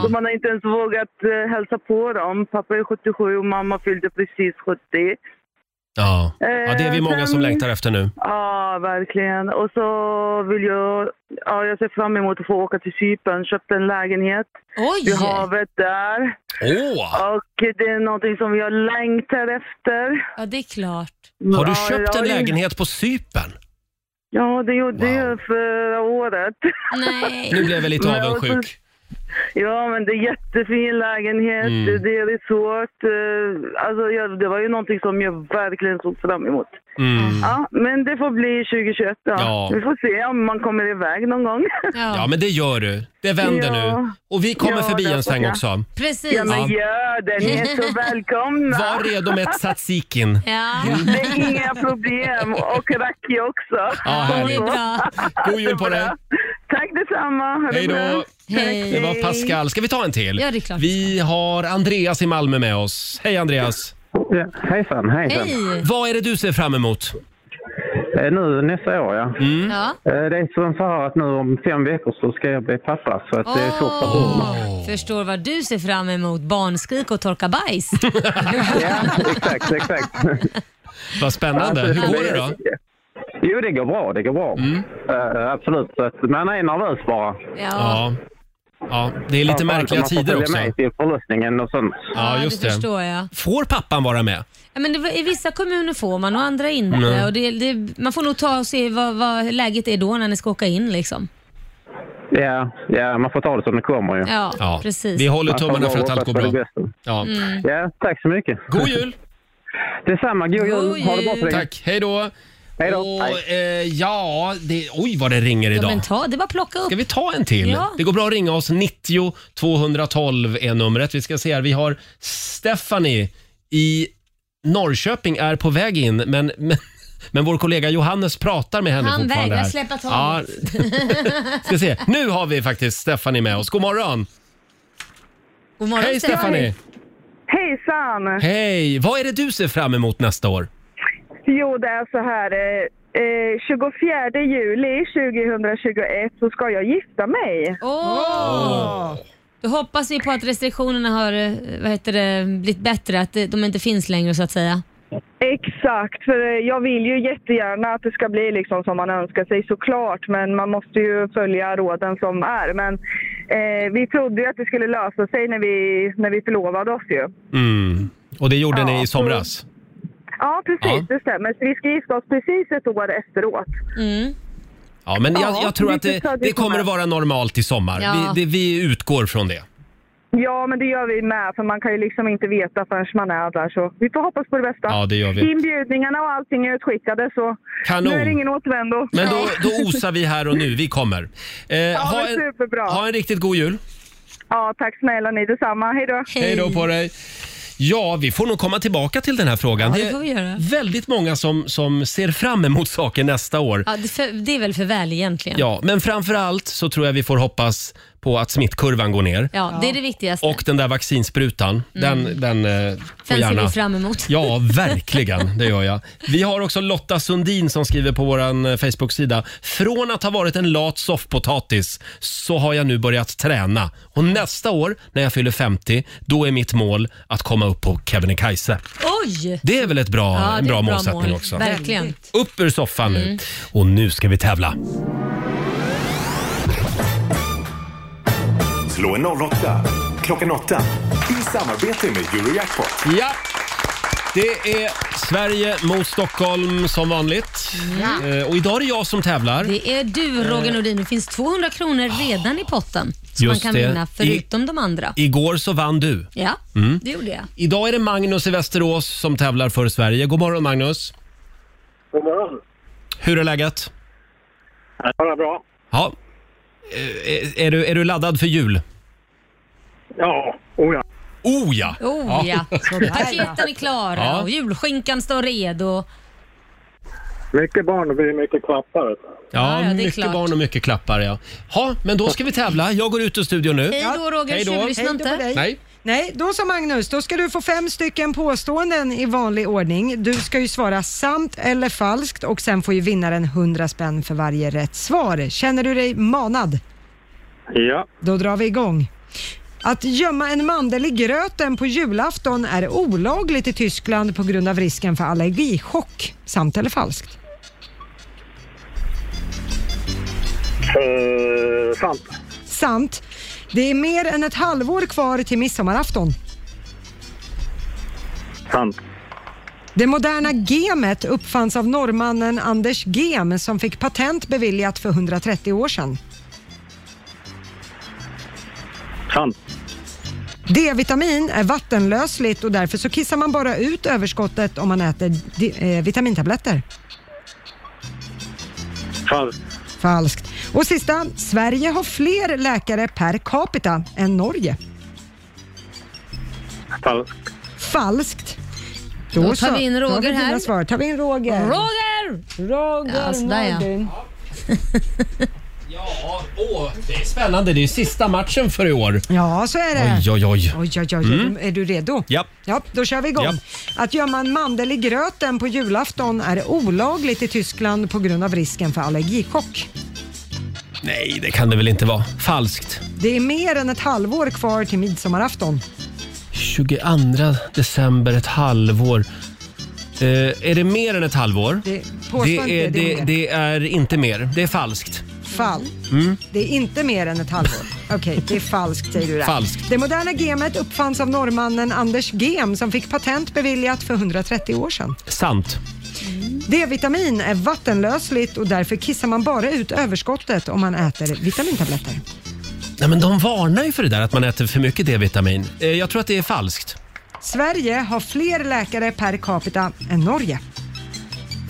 Speaker 17: Så man har inte ens vågat eh, hälsa på dem. Pappa är 77 och mamma fyllde precis 70.
Speaker 1: Ja, ja det är vi
Speaker 17: Eh,
Speaker 1: många som
Speaker 17: sen-
Speaker 1: längtar efter nu.
Speaker 17: Ja, verkligen. Och så vill jag... Ja, jag ser fram emot att få åka till Cypern. Köpt en lägenhet
Speaker 10: Oj!
Speaker 17: vid havet där.
Speaker 1: Åh!
Speaker 17: Och det är någonting som jag längtar efter.
Speaker 10: Ja, det är klart.
Speaker 1: Har du
Speaker 17: Ja,
Speaker 1: köpt en
Speaker 17: jag-
Speaker 1: lägenhet på Cypern?
Speaker 17: Ja, det gjorde jag förra året.
Speaker 10: Nej.
Speaker 1: Nu blev jag lite avundsjuk.
Speaker 17: Ja, men det är jättefin lägenhet.
Speaker 1: Mm.
Speaker 17: Det- Det är resort. Eh, Alltså, ja, det var ju någonting som jag verkligen såg fram emot.
Speaker 1: Mm.
Speaker 17: Ja, men det får bli 2021 då.
Speaker 1: Ja.
Speaker 17: Vi får se om man kommer iväg någon gång.
Speaker 1: Ja, men det gör du. Det vänder
Speaker 17: Ja.
Speaker 1: nu. Och vi kommer
Speaker 17: Ja,
Speaker 1: förbi
Speaker 17: det
Speaker 1: en
Speaker 17: hoppas
Speaker 1: sväng
Speaker 17: jag.
Speaker 1: också.
Speaker 10: Precis.
Speaker 17: Ja, men
Speaker 1: Ja.
Speaker 17: gör det. Ni är så välkomna.
Speaker 1: Var redo med tzatzikin.
Speaker 10: Ja.
Speaker 17: Det är inga problem. Och raki också.
Speaker 1: Ja, härligt. Det är bra. God jul på dig.
Speaker 17: Tack detsamma. Ha det
Speaker 1: Hej då!
Speaker 17: bra.
Speaker 1: Det var Pascal. Ska vi ta en till?
Speaker 17: Ja, det är klart.
Speaker 1: Vi har Andreas i Malmö med oss. Hej Andreas!
Speaker 18: Ja, hejsan, hejsan. Hej.
Speaker 1: Vad är det du ser fram emot?
Speaker 18: Eh, Nu nästa år ja.
Speaker 1: Mm.
Speaker 18: Eh, Det är som så här att nu om fem veckor så ska jag bli pappa så att det är första oh.
Speaker 10: Förstår vad du ser fram emot. Barnskrik och torka bajs.
Speaker 18: Exakt, exakt.
Speaker 1: Vad spännande.
Speaker 18: Alltså,
Speaker 1: Hur går det då? Mm.
Speaker 18: Jo det går bra, det går bra. Eh, absolut, så att man är nervös bara.
Speaker 1: Ja. Ja, det är lite
Speaker 18: Framförallt om
Speaker 1: märkliga
Speaker 18: man får
Speaker 1: tider
Speaker 18: följa
Speaker 1: också.
Speaker 18: med till förlossningen och sånt.
Speaker 1: Ja, just det.
Speaker 10: förstår jag.
Speaker 1: Får pappan vara med?
Speaker 10: Ja, men det, var- I vissa kommuner får man och andra inte.
Speaker 1: Nej.
Speaker 10: Och det, det, man får nog ta och se vad, vad läget är då när ni ska åka in. Liksom.
Speaker 18: Ja, ja, man får ta det som det kommer ju.
Speaker 10: Ja, Ja, precis.
Speaker 1: Vi håller
Speaker 18: Man får
Speaker 1: tummarna
Speaker 18: bara
Speaker 1: för att allt
Speaker 18: hoppas
Speaker 1: går
Speaker 18: på det
Speaker 1: bra.
Speaker 18: bästa.
Speaker 1: Ja.
Speaker 18: Ja, tack så mycket.
Speaker 1: God jul!
Speaker 18: Detsamma, god jul.
Speaker 1: God
Speaker 18: Ha det bra på dig.
Speaker 1: Tack, hej då!
Speaker 18: Hej då.
Speaker 1: Och, eh, ja, det, oj vad det ringer
Speaker 10: Ja,
Speaker 1: idag.
Speaker 10: men ta, det är bara att plocka upp.
Speaker 1: Ska vi ta en till?
Speaker 10: Ja.
Speaker 1: Det går bra att ringa oss. 90 212 är numret. Vi ska se här. Vi har Stephanie i Norrköping är på väg in, men, men Men vår kollega Johannes pratar med henne
Speaker 10: Han
Speaker 1: fortfarande.
Speaker 10: vägrar
Speaker 1: här.
Speaker 10: släppa
Speaker 1: Ja,
Speaker 10: taget.
Speaker 1: ska se. Nu har vi faktiskt Stephanie med oss. God morgon!
Speaker 10: God morgon,
Speaker 1: Hej Stephanie!
Speaker 15: Hejsan!
Speaker 1: Hej! Vad är det du ser fram emot nästa år?
Speaker 15: Jo, det är så här. eh, Eh, 24 juli 2021 så ska jag gifta mig.
Speaker 10: Åh! Då hoppas vi på att restriktionerna har eh, vad heter det, blivit bättre, att eh, de inte finns längre så att säga.
Speaker 15: Exakt, för eh, jag vill ju jättegärna att det ska bli liksom som man önskar sig såklart, men man måste ju följa råden som är. Men eh, vi trodde ju att det skulle lösa sig när vi, när vi förlovade oss ju.
Speaker 1: Mm. Och det gjorde ni i somras?
Speaker 15: Ja, precis,
Speaker 1: Ja.
Speaker 15: det stämmer. Så vi ska gifta oss precis ett år efteråt.
Speaker 1: Ja, men jag,
Speaker 15: Ja,
Speaker 1: jag tror att
Speaker 15: lite
Speaker 1: det,
Speaker 15: traditionellt.
Speaker 1: det kommer att vara normalt i sommar.
Speaker 15: Ja.
Speaker 1: Vi, det, vi utgår från det.
Speaker 15: Ja, men det gör vi med, för man kan ju liksom inte veta förrän man är där. Så vi får hoppas på det bästa.
Speaker 1: Ja, det gör vi.
Speaker 15: Inbjudningarna och allting är utskickade, så
Speaker 1: Kanon.
Speaker 15: nu är det ingen återvändo.
Speaker 1: Men då, då osar vi här och nu. Vi kommer. Eh, ha,
Speaker 15: men
Speaker 1: en, ha en riktigt god jul.
Speaker 15: Ja, tack snälla ni detsamma. Hej då.
Speaker 1: Hej då på dig. Ja, vi får nog komma tillbaka till den här frågan.
Speaker 10: Ja, det får vi göra.
Speaker 1: väldigt många som, som ser fram emot saker nästa år.
Speaker 10: Ja, det, för, det är väl för väl egentligen.
Speaker 1: Ja, men framför allt så tror jag vi får hoppas på att smittkurvan går ner.
Speaker 10: Ja, det är det viktigaste.
Speaker 1: Och den där vaccinsprutan,
Speaker 10: Mm.
Speaker 1: den, den eh, får
Speaker 10: Sen ser
Speaker 1: gärna...
Speaker 10: vi fram emot.
Speaker 1: Ja, verkligen. Det gör jag. Vi har också Lotta Sundin som skriver på vår Facebook-sida. Från att ha varit en lat soffpotatis så har jag nu börjat träna. Och nästa år, när jag fyller 50, då är mitt mål att komma upp på Kebnekaise.
Speaker 10: Oj!
Speaker 1: Det är väl ett bra,
Speaker 10: Ja, det är
Speaker 1: en bra,
Speaker 10: ett bra
Speaker 1: målsättning
Speaker 10: mål.
Speaker 1: också?
Speaker 10: Verkligen.
Speaker 1: Upp ur soffan nu.
Speaker 10: Mm.
Speaker 1: Och nu ska vi tävla.
Speaker 3: Slå en 08 klockan 8 i samarbete med Eurojackpot.
Speaker 1: Ja! Det är Sverige mot Stockholm som vanligt.
Speaker 10: Ja.
Speaker 1: Eh, Och idag är det jag som tävlar.
Speaker 10: Det är du Roger Nordin. Det finns 200 kronor redan i potten som man
Speaker 1: Just
Speaker 10: kan
Speaker 1: det.
Speaker 10: vinna förutom de andra.
Speaker 1: Igår så vann du.
Speaker 10: Ja,
Speaker 1: Mm.
Speaker 10: det gjorde jag.
Speaker 1: Idag är det Magnus i Västerås som tävlar för Sverige. God morgon Magnus!
Speaker 19: God morgon.
Speaker 1: Hur är läget?
Speaker 19: Det var bra.
Speaker 1: Ja. Eh, Är, är, du, är du laddad för jul?
Speaker 19: Ja, oh ja.
Speaker 1: Oh ja!
Speaker 10: Oh ja, paketen är klara
Speaker 1: Ja.
Speaker 10: och julskinkan står redo.
Speaker 19: Mycket barn och blir mycket klappar.
Speaker 1: Ja,
Speaker 10: Ja, ja, det är
Speaker 1: mycket
Speaker 10: klart.
Speaker 1: barn och mycket klappar ja. Ha, men då ska vi tävla. Jag går ut ur studion nu.
Speaker 2: Ja.
Speaker 1: Hej då.
Speaker 2: Hej då på dig.
Speaker 1: Nej.
Speaker 2: Nej, då så Magnus, då ska du få fem stycken påståenden i vanlig ordning. Du ska ju svara sant eller falskt och sen får ju vinnaren 100 spänn för varje rätt svar. Känner du dig manad?
Speaker 19: Ja,
Speaker 2: Då drar vi igång. Att gömma en mandel i gröten på julafton är olagligt i Tyskland på grund av risken för allergichock. Sant eller falskt?
Speaker 19: eh, sant.
Speaker 2: Sant. Det är mer än ett halvår kvar till midsommarafton.
Speaker 19: Sant.
Speaker 2: Det moderna gemet uppfanns av norrmannen Anders Gem som fick patent beviljat för 130 år sedan.
Speaker 19: Sant.
Speaker 2: D-vitamin är vattenlösligt och därför så kissar man bara ut överskottet om man äter di- eh, vitamintabletter.
Speaker 19: Falskt.
Speaker 2: Falskt. Och sista, Sverige har fler läkare per capita än Norge.
Speaker 19: Falskt.
Speaker 2: Falskt.
Speaker 10: Då tar
Speaker 2: så.
Speaker 10: vi in
Speaker 2: Då har
Speaker 10: Roger
Speaker 2: dina
Speaker 10: här.
Speaker 2: Svar. Tar vi in Roger.
Speaker 10: Roger!
Speaker 2: Roger
Speaker 10: Ja, sådär ja.
Speaker 2: Nordin.
Speaker 1: Ja, åh, det är spännande. Det är sista matchen för i år.
Speaker 2: Ja, så är det.
Speaker 1: Oj, oj, oj.
Speaker 2: Oj, oj, oj.
Speaker 1: Mm.
Speaker 2: Är du redo?
Speaker 1: Ja.
Speaker 2: Ja, då kör vi igång.
Speaker 1: Ja.
Speaker 2: Att gömma en mandel i gröten på julafton är olagligt i Tyskland på grund av risken för allergichock.
Speaker 1: Nej, det kan det väl inte vara. Falskt.
Speaker 2: Det är mer än ett halvår kvar till midsommarafton.
Speaker 1: 22 december, ett halvår. Eh, är det mer än ett halvår?
Speaker 2: Det- påstå inte,
Speaker 1: är,
Speaker 2: det
Speaker 1: det,
Speaker 2: är mer.
Speaker 1: det är inte mer. Det är falskt.
Speaker 2: Fall.
Speaker 1: Mm.
Speaker 2: Det är inte mer än ett halvår. Okej, det är falskt säger du där.
Speaker 1: Falskt.
Speaker 2: Det moderna gemet uppfanns av norrmannen Anders Gem som fick patent beviljat för 130 år sedan.
Speaker 1: Sant.
Speaker 2: D-vitamin är vattenlösligt och därför kissar man bara ut överskottet om man äter vitamintabletter.
Speaker 1: Nej, men de varnar ju för det där att man äter för mycket D-vitamin. Eh, jag tror att det är falskt.
Speaker 2: Sverige har fler läkare per capita än Norge.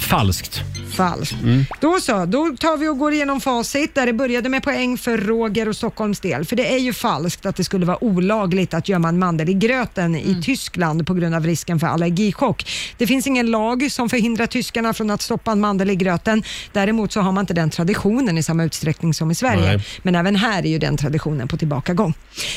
Speaker 1: Falskt. Mm.
Speaker 2: falskt. Då så, då tar vi och går igenom facit där det började med poäng för Roger och Stockholms del. För det är ju falskt att det skulle vara olagligt att gömma en mandel i gröten
Speaker 5: Mm.
Speaker 2: i Tyskland på grund av risken för allergichock. Det finns ingen lag som förhindrar tyskarna från att stoppa en mandel i gröten. Däremot så har man inte den traditionen i samma utsträckning som i Sverige.
Speaker 5: Nej.
Speaker 2: Men även här är ju den traditionen på tillbakagång.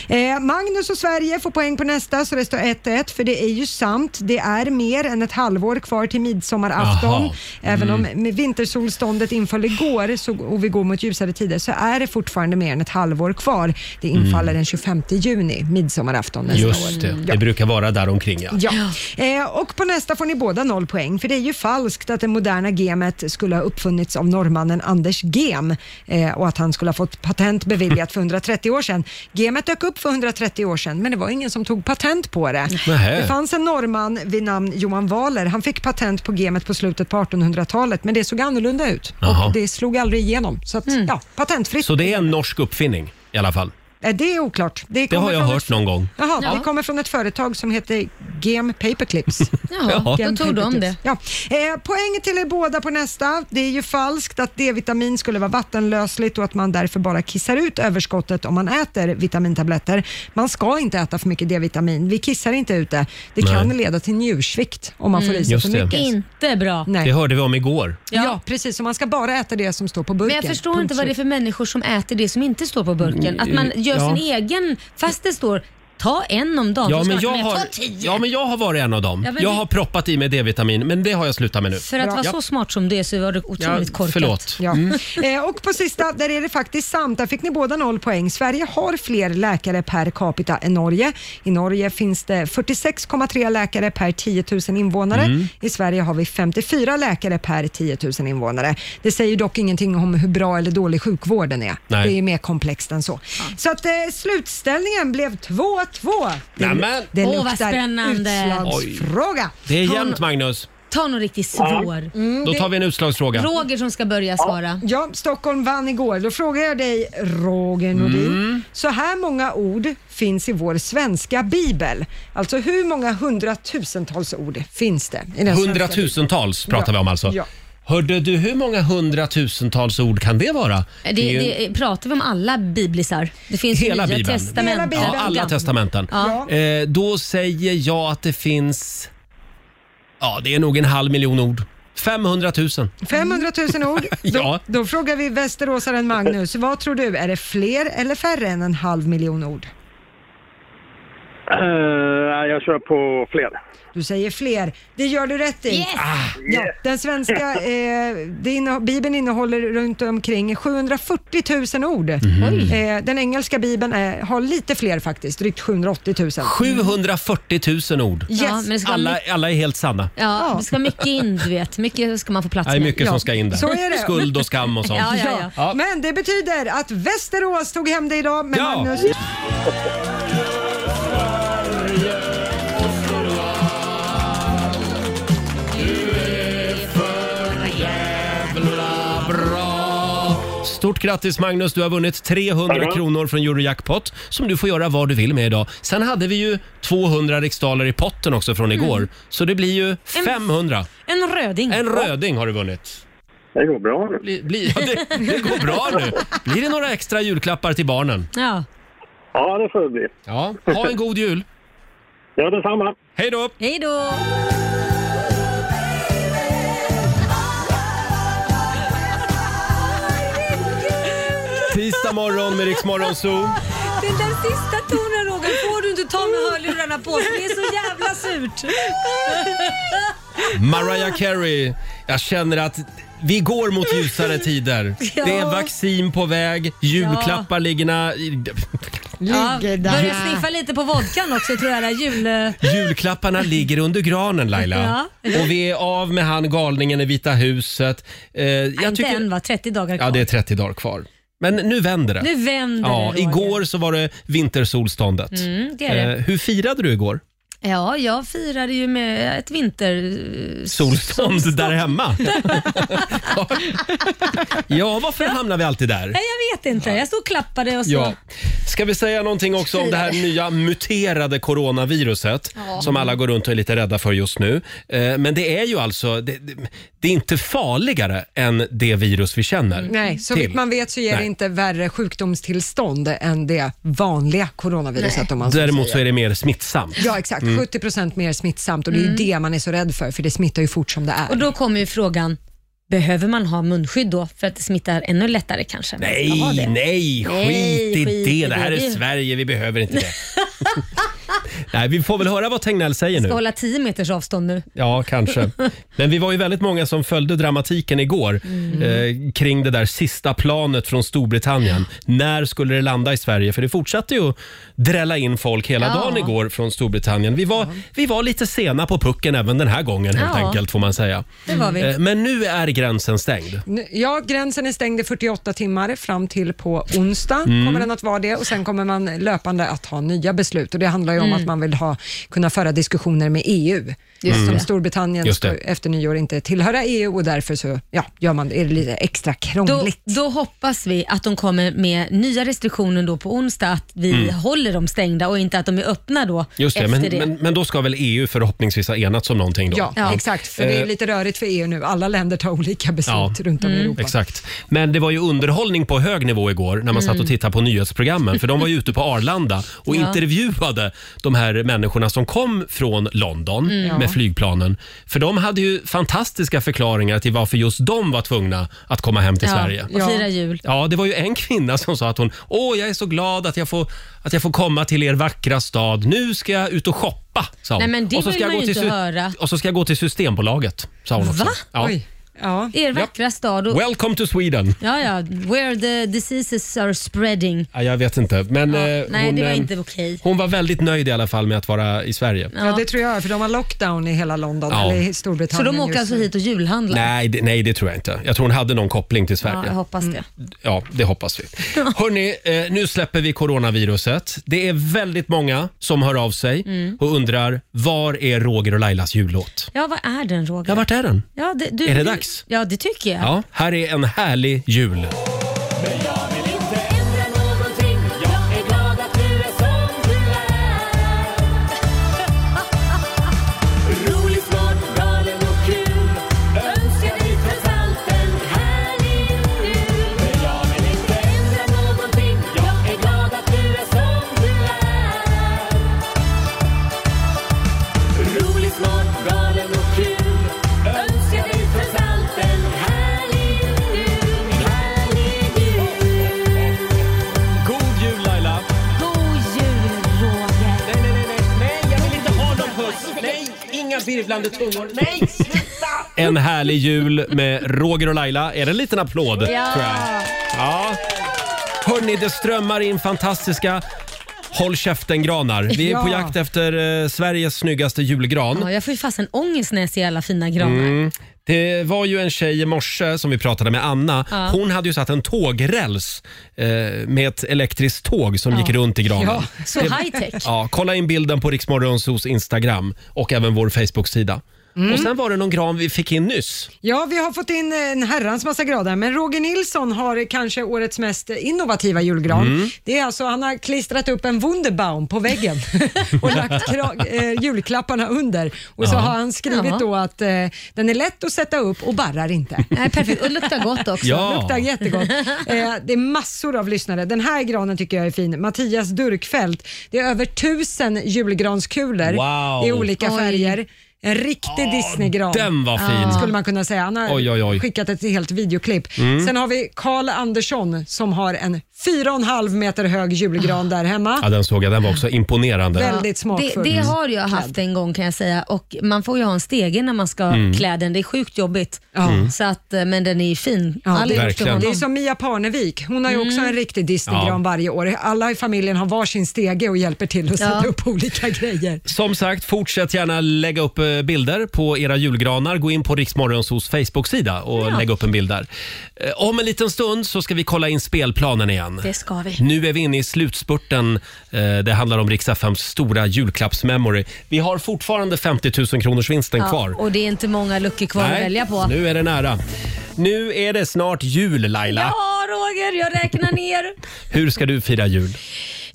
Speaker 2: Eh, Magnus och Sverige får poäng på nästa så det står 1-1 för det är ju sant. Det är mer än ett halvår kvar till midsommarafton.
Speaker 5: Jaha.
Speaker 2: Även om
Speaker 5: Mm.
Speaker 2: med vintersolståndet inföll igår så, och vi går mot ljusare tider så är det fortfarande mer än ett halvår kvar. Det infaller
Speaker 1: Mm.
Speaker 2: den 25 juni, midsommarafton nästa år.
Speaker 1: Just det, det brukar vara där omkring ja.
Speaker 2: Ja. Eh, och på nästa får ni båda noll poäng, för det är ju falskt att det moderna gemet skulle ha uppfunnits av norrmannen Anders Gem eh, och att han skulle ha fått patent beviljat för 130 år sedan. Gemet dök upp för 130 år sedan, men det var ingen som tog patent på det.
Speaker 5: Nähä.
Speaker 2: Det fanns en norrman vid namn Johan Wahler. Han fick patent på gemet på slutet på 1800-talet, men det såg annorlunda ut
Speaker 1: Jaha.
Speaker 2: och det slog aldrig igenom. Så att, ja, patentfritt.
Speaker 1: Så det är en norsk uppfinning i alla fall.
Speaker 2: Eh, det är oklart. Det,
Speaker 1: Det
Speaker 2: kommer
Speaker 1: har jag
Speaker 2: från
Speaker 1: hört
Speaker 2: ett-
Speaker 1: någon gång.
Speaker 2: Jaha,
Speaker 1: Ja.
Speaker 2: det kommer från ett företag som heter Gem Paperclips.
Speaker 1: Jaha, då
Speaker 2: Gem
Speaker 1: tog de
Speaker 2: Paperclips. Ja. Eh, poäng till er båda på nästa. Det är ju falskt att D-vitamin skulle vara vattenlösligt och att man därför bara kissar ut överskottet om man äter vitamintabletter. Man ska inte äta för mycket D-vitamin. Vi kissar inte ut det. Det
Speaker 1: Nej. Mm.
Speaker 2: kan leda till njursvikt om man får i sig
Speaker 1: Just
Speaker 2: för
Speaker 1: det.
Speaker 2: mycket. Inte bra. Nej.
Speaker 1: Det hörde vi om igår.
Speaker 2: Ja. precis. Så man ska bara äta det som står på burken.
Speaker 4: Men jag förstår inte vad det är
Speaker 2: Punkt
Speaker 4: för människor som äter det som inte står på burken. Att man gör
Speaker 1: Mm, eh, Ja.
Speaker 4: sin egen, fast det står ta en om dagen.
Speaker 1: Ja
Speaker 4: så
Speaker 1: men,
Speaker 4: ska
Speaker 1: jag
Speaker 4: man-
Speaker 1: har,
Speaker 4: ta tio.
Speaker 1: ja men jag har varit en av dem.
Speaker 4: Ja, men
Speaker 1: jag
Speaker 4: det-
Speaker 1: har proppat i mig D-vitamin men det har jag slutat med nu.
Speaker 4: För att vara
Speaker 1: Ja.
Speaker 4: så smart som du är så var du otroligt
Speaker 1: Ja,
Speaker 4: korkat.
Speaker 1: förlåt.
Speaker 2: Ja.
Speaker 1: Mm.
Speaker 2: Eh, och på sista, där är det faktiskt sant. Där fick ni båda noll poäng. Sverige har fler läkare per capita än Norge. I Norge finns det 46,3 läkare per 10 000 invånare.
Speaker 5: Mm.
Speaker 2: I Sverige har vi 54 läkare per 10 000 invånare. Det säger dock ingenting om hur bra eller dålig sjukvården är.
Speaker 1: Nej.
Speaker 2: Det är mer komplext än så. Så att eh, slutställningen blev 2-2. Det-
Speaker 1: Nämen.
Speaker 2: Det
Speaker 4: Åh, vad
Speaker 2: luktar
Speaker 4: spännande.
Speaker 2: utslagsfråga.
Speaker 1: Det är jämnt Magnus.
Speaker 2: Mm,
Speaker 4: Ta någon riktigt svår.
Speaker 1: Då tar vi en utslagsfråga.
Speaker 4: Roger som ska börja svara.
Speaker 2: Ja, Stockholm vann igår. Då frågar jag dig, Roger Nordin.
Speaker 1: Mm.
Speaker 2: Så här många ord finns i vår svenska bibel. Alltså hur många hundratusentals ord finns det? I den svenska bibeln?
Speaker 1: Hundratusentals pratar
Speaker 2: Ja,
Speaker 1: vi om alltså.
Speaker 2: ja.
Speaker 1: Hörde du hur många hundratusentals ord kan det vara?
Speaker 4: Eh, Det,
Speaker 1: är ju-
Speaker 4: det, pratar vi om alla biblisar? Det finns ju
Speaker 1: Hela
Speaker 4: nya
Speaker 1: Bibeln.
Speaker 4: testament.
Speaker 1: Ja, alla testamenten.
Speaker 4: Ja.
Speaker 1: Eh, då säger jag att det finns... Ja, det är nog en halv miljon ord. 500 000.
Speaker 2: 500 000 ord. Då,
Speaker 1: Ja.
Speaker 2: då frågar vi västeråsaren Magnus. Vad tror du, är det fler eller färre än en halv miljon ord?
Speaker 19: Eh, jag kör på fler.
Speaker 2: Du säger fler. Det gör du rätt i. Ah. Ja, den svenska eh, det inne, bibeln innehåller runt omkring 740 000 ord.
Speaker 4: Mhm.
Speaker 2: Eh, den engelska bibeln är, har lite fler faktiskt, drygt 780 000.
Speaker 1: 740 000 ord.
Speaker 4: Yes. Ja, men det ska vara
Speaker 1: alla,
Speaker 4: mycket-
Speaker 1: alla är helt sanna.
Speaker 4: Ja, Det ska mycket in, du vet. Mycket ska man få plats
Speaker 1: Det är
Speaker 4: med.
Speaker 1: mycket som ska in där.
Speaker 2: Så är det.
Speaker 1: Skuld och skam och sånt.
Speaker 4: Ja, ja, ja.
Speaker 2: Men det betyder att Västerås tog hem det idag med
Speaker 1: Ja.
Speaker 2: Magnus.
Speaker 1: Stort grattis Magnus, du har vunnit 300 kronor från Eurojackpot som du får göra vad du vill med idag. Sen hade vi ju 200 riksdaler i potten också från igår. Så det blir ju 500.
Speaker 4: En röding.
Speaker 1: En röding har du vunnit.
Speaker 19: Det går bra nu.
Speaker 1: Bli, bli, ja, det, det går bra nu. Blir det några extra julklappar till barnen?
Speaker 4: Ja.
Speaker 19: Ja, det får det bli.
Speaker 1: Ja, ha en god jul.
Speaker 19: Ja, detsamma.
Speaker 1: Hej då!
Speaker 4: Hej då!
Speaker 1: Tisdag morgon med Rix Morgon Zoo.
Speaker 4: Den där sista tonen Roger får du inte ta med hörlurarna på. Det är så jävla surt. Ah.
Speaker 1: Mariah Carey. Jag känner att vi går mot ljusare tider.
Speaker 4: Ja.
Speaker 1: Det är vaccin på väg, julklappar ligger na-
Speaker 4: Ja,
Speaker 1: Ligger där.
Speaker 4: börja sniffa lite på vodkan också tror jag. Där jul...
Speaker 1: Julklapparna ligger under granen Laila.
Speaker 4: Ja.
Speaker 1: Och vi är av med han galningen i Vita huset. Eh,
Speaker 4: Jag
Speaker 1: jag
Speaker 4: inte
Speaker 1: tycker,
Speaker 4: än va? 30 dagar kvar.
Speaker 1: ja, det är 30 dagar kvar. Men nu vänder det.
Speaker 4: Nu vänder det,
Speaker 1: ja,
Speaker 4: Roger.
Speaker 1: Igår så var det vintersolståndet.
Speaker 4: Mm, det är det.
Speaker 1: Eh, hur firade du igår?
Speaker 4: Ja, jag firade ju med ett vinter...
Speaker 1: Solstånd där hemma? ja, varför hamnar vi alltid där?
Speaker 4: Alltså. Nej, jag vet inte. Jag stod och klappade och så.
Speaker 1: Ja. Ska vi säga någonting också om det här nya muterade coronaviruset
Speaker 5: Ja.
Speaker 1: som alla går runt och är lite rädda för just nu. Eh, Men det är ju alltså, det, det- det är inte farligare än det virus vi känner.
Speaker 2: Mm. Nej, så
Speaker 1: till.
Speaker 2: vitt man vet så ger det
Speaker 1: Nej.
Speaker 2: inte värre sjukdomstillstånd än det vanliga coronaviruset. Om man så
Speaker 1: Däremot
Speaker 2: säger.
Speaker 1: så är det mer smittsamt.
Speaker 2: Ja, exakt.
Speaker 1: Mm.
Speaker 2: 70 procent mer smittsamt och det är ju
Speaker 4: Mm.
Speaker 2: det man är så rädd för, för det smittar ju fort som det är.
Speaker 4: Och då kommer ju frågan, behöver man ha munskydd då för att det smittar ännu lättare kanske? Man ska ha
Speaker 1: Nej,
Speaker 4: det.
Speaker 1: nej, skit i det. Det här är
Speaker 4: Vi
Speaker 1: Sverige, vi behöver inte det. Nej, vi får väl höra vad Tegnell säger
Speaker 4: Ska
Speaker 1: nu.
Speaker 4: hålla 10 meters avstånd nu.
Speaker 1: Ja, kanske. Men vi var ju väldigt många som följde dramatiken igår
Speaker 4: Mm.
Speaker 1: eh, kring det där sista planet från Storbritannien. När skulle det landa i Sverige? För det fortsatte ju att drälla in folk hela
Speaker 5: Ja.
Speaker 1: dagen igår från Storbritannien. Vi var, vi var lite sena på pucken även den här gången helt
Speaker 2: Ja.
Speaker 1: enkelt får man säga.
Speaker 2: Det var vi.
Speaker 1: Eh, Men nu är gränsen stängd.
Speaker 2: Nu- Ja, gränsen är stängd i 48 timmar fram till på onsdag
Speaker 1: Mm.
Speaker 2: kommer den att vara det och sen kommer man löpande att ha nya beslut och det handlar ju om
Speaker 4: Mm.
Speaker 2: att man vill ha, kunna föra diskussioner med EU.
Speaker 4: Just
Speaker 2: Som
Speaker 4: det.
Speaker 2: Storbritannien
Speaker 4: Just
Speaker 2: ska
Speaker 4: det.
Speaker 2: efter nyår inte tillhöra EU och därför så ja, gör man, är det lite extra
Speaker 4: Då,
Speaker 2: krångligt.
Speaker 4: då hoppas vi att de kommer med nya restriktioner då på onsdag, att vi
Speaker 1: Mm.
Speaker 4: håller dem stängda och inte att de är öppna då
Speaker 1: Just det
Speaker 4: efter
Speaker 1: men,
Speaker 4: det.
Speaker 1: Men, men då ska väl EU förhoppningsvis ha enats om någonting då?
Speaker 2: Ja, exakt, för det är
Speaker 1: Eh,
Speaker 2: lite rörigt för EU nu. Alla länder tar olika beslut runt om
Speaker 4: Mm.
Speaker 2: i Europa.
Speaker 1: Exakt. Men det var ju underhållning på hög nivå igår när man satt
Speaker 2: Mm.
Speaker 1: och tittade på nyhetsprogrammen för de var ju ute på Arlanda och
Speaker 2: Ja.
Speaker 1: intervjuade de här människorna som kom från London
Speaker 5: Mm. Ja.
Speaker 1: med flygplanen. För de hade ju fantastiska förklaringar till varför just de var tvungna att komma hem till
Speaker 4: Ja,
Speaker 1: Sverige.
Speaker 4: och fira jul.
Speaker 1: Ja, det var ju en kvinna som sa att hon, åh jag är så glad att jag får, att jag får komma till er vackra stad. Nu ska jag ut och shoppa, sa hon.
Speaker 4: Nej, men det
Speaker 1: och så
Speaker 4: vill
Speaker 1: ska jag
Speaker 4: man
Speaker 1: gå
Speaker 4: ju
Speaker 1: till
Speaker 4: inte
Speaker 1: sy-
Speaker 4: höra.
Speaker 1: Och så ska jag gå till Systembolaget, sa hon också.
Speaker 4: Va?
Speaker 1: Ja.
Speaker 4: Oj. Er vackra stad. Och,
Speaker 1: Welcome to Sweden.
Speaker 4: ja, ja, where the diseases are spreading.
Speaker 1: Ja, jag vet inte, men eh,
Speaker 4: Nej,
Speaker 1: hon,
Speaker 4: det var
Speaker 1: eh,
Speaker 4: inte okej.
Speaker 1: hon var väldigt nöjd i alla fall med att vara i Sverige.
Speaker 2: Ja. det tror jag, för de har lockdown i hela London,
Speaker 1: Ja.
Speaker 2: eller i Storbritannien
Speaker 4: Så de åker
Speaker 2: just
Speaker 4: alltså
Speaker 2: nu.
Speaker 4: hit och julhandlar?
Speaker 1: Nej det, nej, det tror jag inte. Jag tror hon hade någon koppling till
Speaker 4: Ja,
Speaker 1: Sverige.
Speaker 4: jag hoppas
Speaker 2: Mm.
Speaker 4: det.
Speaker 1: Ja, det hoppas vi. Hörni, eh, nu släpper vi coronaviruset. Det är väldigt många som hör av sig
Speaker 4: Mm.
Speaker 1: och undrar var är Roger och Lailas jullåt?
Speaker 4: Ja, vad är den Roger? Ja,
Speaker 1: vart är den?
Speaker 4: Ja, det, du,
Speaker 1: Är det
Speaker 4: du-
Speaker 1: dags?
Speaker 4: Ja, det tycker jag.
Speaker 1: Ja, här är en härlig jul.
Speaker 5: Önskar dig trots allt en härlig jul, härlig jul
Speaker 1: God jul Laila!
Speaker 5: God jul, Roger!
Speaker 1: Nej, nej, nej, nej, nej, jag vill inte ha någon puss! Nej, inga virvlande tungor! Nej, sluta! En härlig jul med Roger och Laila. Är det en liten applåd? Tror jag. Ja. Hörni, det strömmar in fantastiska Håll käften-granar. Vi är på
Speaker 4: Ja.
Speaker 1: jakt efter eh, Sveriges snyggaste julgran.
Speaker 4: Ja, jag får ju fasen ångest när jag ser alla fina granar.
Speaker 1: Mm. Det var ju en tjej i morse som vi pratade med, Anna.
Speaker 4: Ja.
Speaker 1: Hon hade ju satt en tågräls eh, med ett elektriskt tåg som
Speaker 4: Ja.
Speaker 1: gick runt i granen.
Speaker 4: Ja, så
Speaker 1: Det-
Speaker 4: high-tech.
Speaker 1: Ja, kolla in bilden på Riksmorgonsos Instagram och även vår Facebook-sida.
Speaker 2: Mm.
Speaker 1: Och sen var det någon gran vi fick in nyss.
Speaker 2: Ja, vi har fått in eh, en herrans massa grader, men Roger Nilsson har kanske årets mest innovativa julgran.
Speaker 1: Mm.
Speaker 2: Det är alltså, han har klistrat upp en Wunderbaum på väggen och lagt kra- eh, julklapparna under. Och så
Speaker 4: Ja.
Speaker 2: har han skrivit
Speaker 4: Ja.
Speaker 2: då att eh, den är lätt att sätta upp och barrar inte.
Speaker 4: Nej, perfekt. Och luktar gott också.
Speaker 2: Ja. Luktar jättegott. Eh, det är massor av lyssnare. Den här granen tycker jag är fin. Mattias Durkfelt. Det är över tusen julgranskulor
Speaker 1: Wow.
Speaker 2: i olika
Speaker 1: Oj.
Speaker 2: färger. En riktig Disneygran.
Speaker 1: den var fin.
Speaker 2: Skulle man kunna säga. Han har
Speaker 1: Oj, oj, oj.
Speaker 2: skickat ett helt videoklipp.
Speaker 1: Mm.
Speaker 2: Sen har vi Karl Andersson som har en 4,5 meter hög julgran där hemma.
Speaker 1: Ja, den såg jag. Den var också imponerande.
Speaker 2: Väldigt
Speaker 4: Det,
Speaker 2: smakfull.
Speaker 4: det
Speaker 2: Mm.
Speaker 4: har jag haft en gång kan jag säga och man får ju ha en stege när man ska
Speaker 1: Mm.
Speaker 4: klä den. Det är sjukt jobbigt.
Speaker 2: Ja. Mm.
Speaker 4: Så att, eh, men den är ju fin. All
Speaker 2: det,
Speaker 4: eloge till honom.
Speaker 2: det är som Mia Parnevik. Hon har ju också en riktig Disneygran
Speaker 1: Ja.
Speaker 2: varje år. Alla i familjen har varsin stege och hjälper till att
Speaker 4: Ja.
Speaker 2: sätta upp olika grejer.
Speaker 1: Som sagt, fortsätt gärna lägga upp eh, bilder på era julgranar. Gå in på Riksmorgonsos Facebook-sida och
Speaker 4: Ja.
Speaker 1: lägg upp en bild där. Eh, Om en liten stund så ska vi kolla in spelplanen igen.
Speaker 4: Det ska vi.
Speaker 1: Nu är vi inne i slutspurten. Eh, Det handlar om Rix FMs stora julklappsmemory. Vi har fortfarande 50 000 kronors vinsten
Speaker 4: Ja,
Speaker 1: kvar.
Speaker 4: Och det är inte många luckor kvar att
Speaker 1: Nej,
Speaker 4: välja på.
Speaker 1: Nu är det nära. Nu är det snart jul, Laila.
Speaker 4: Ja, Roger, jag räknar ner.
Speaker 1: Hur ska du fira jul?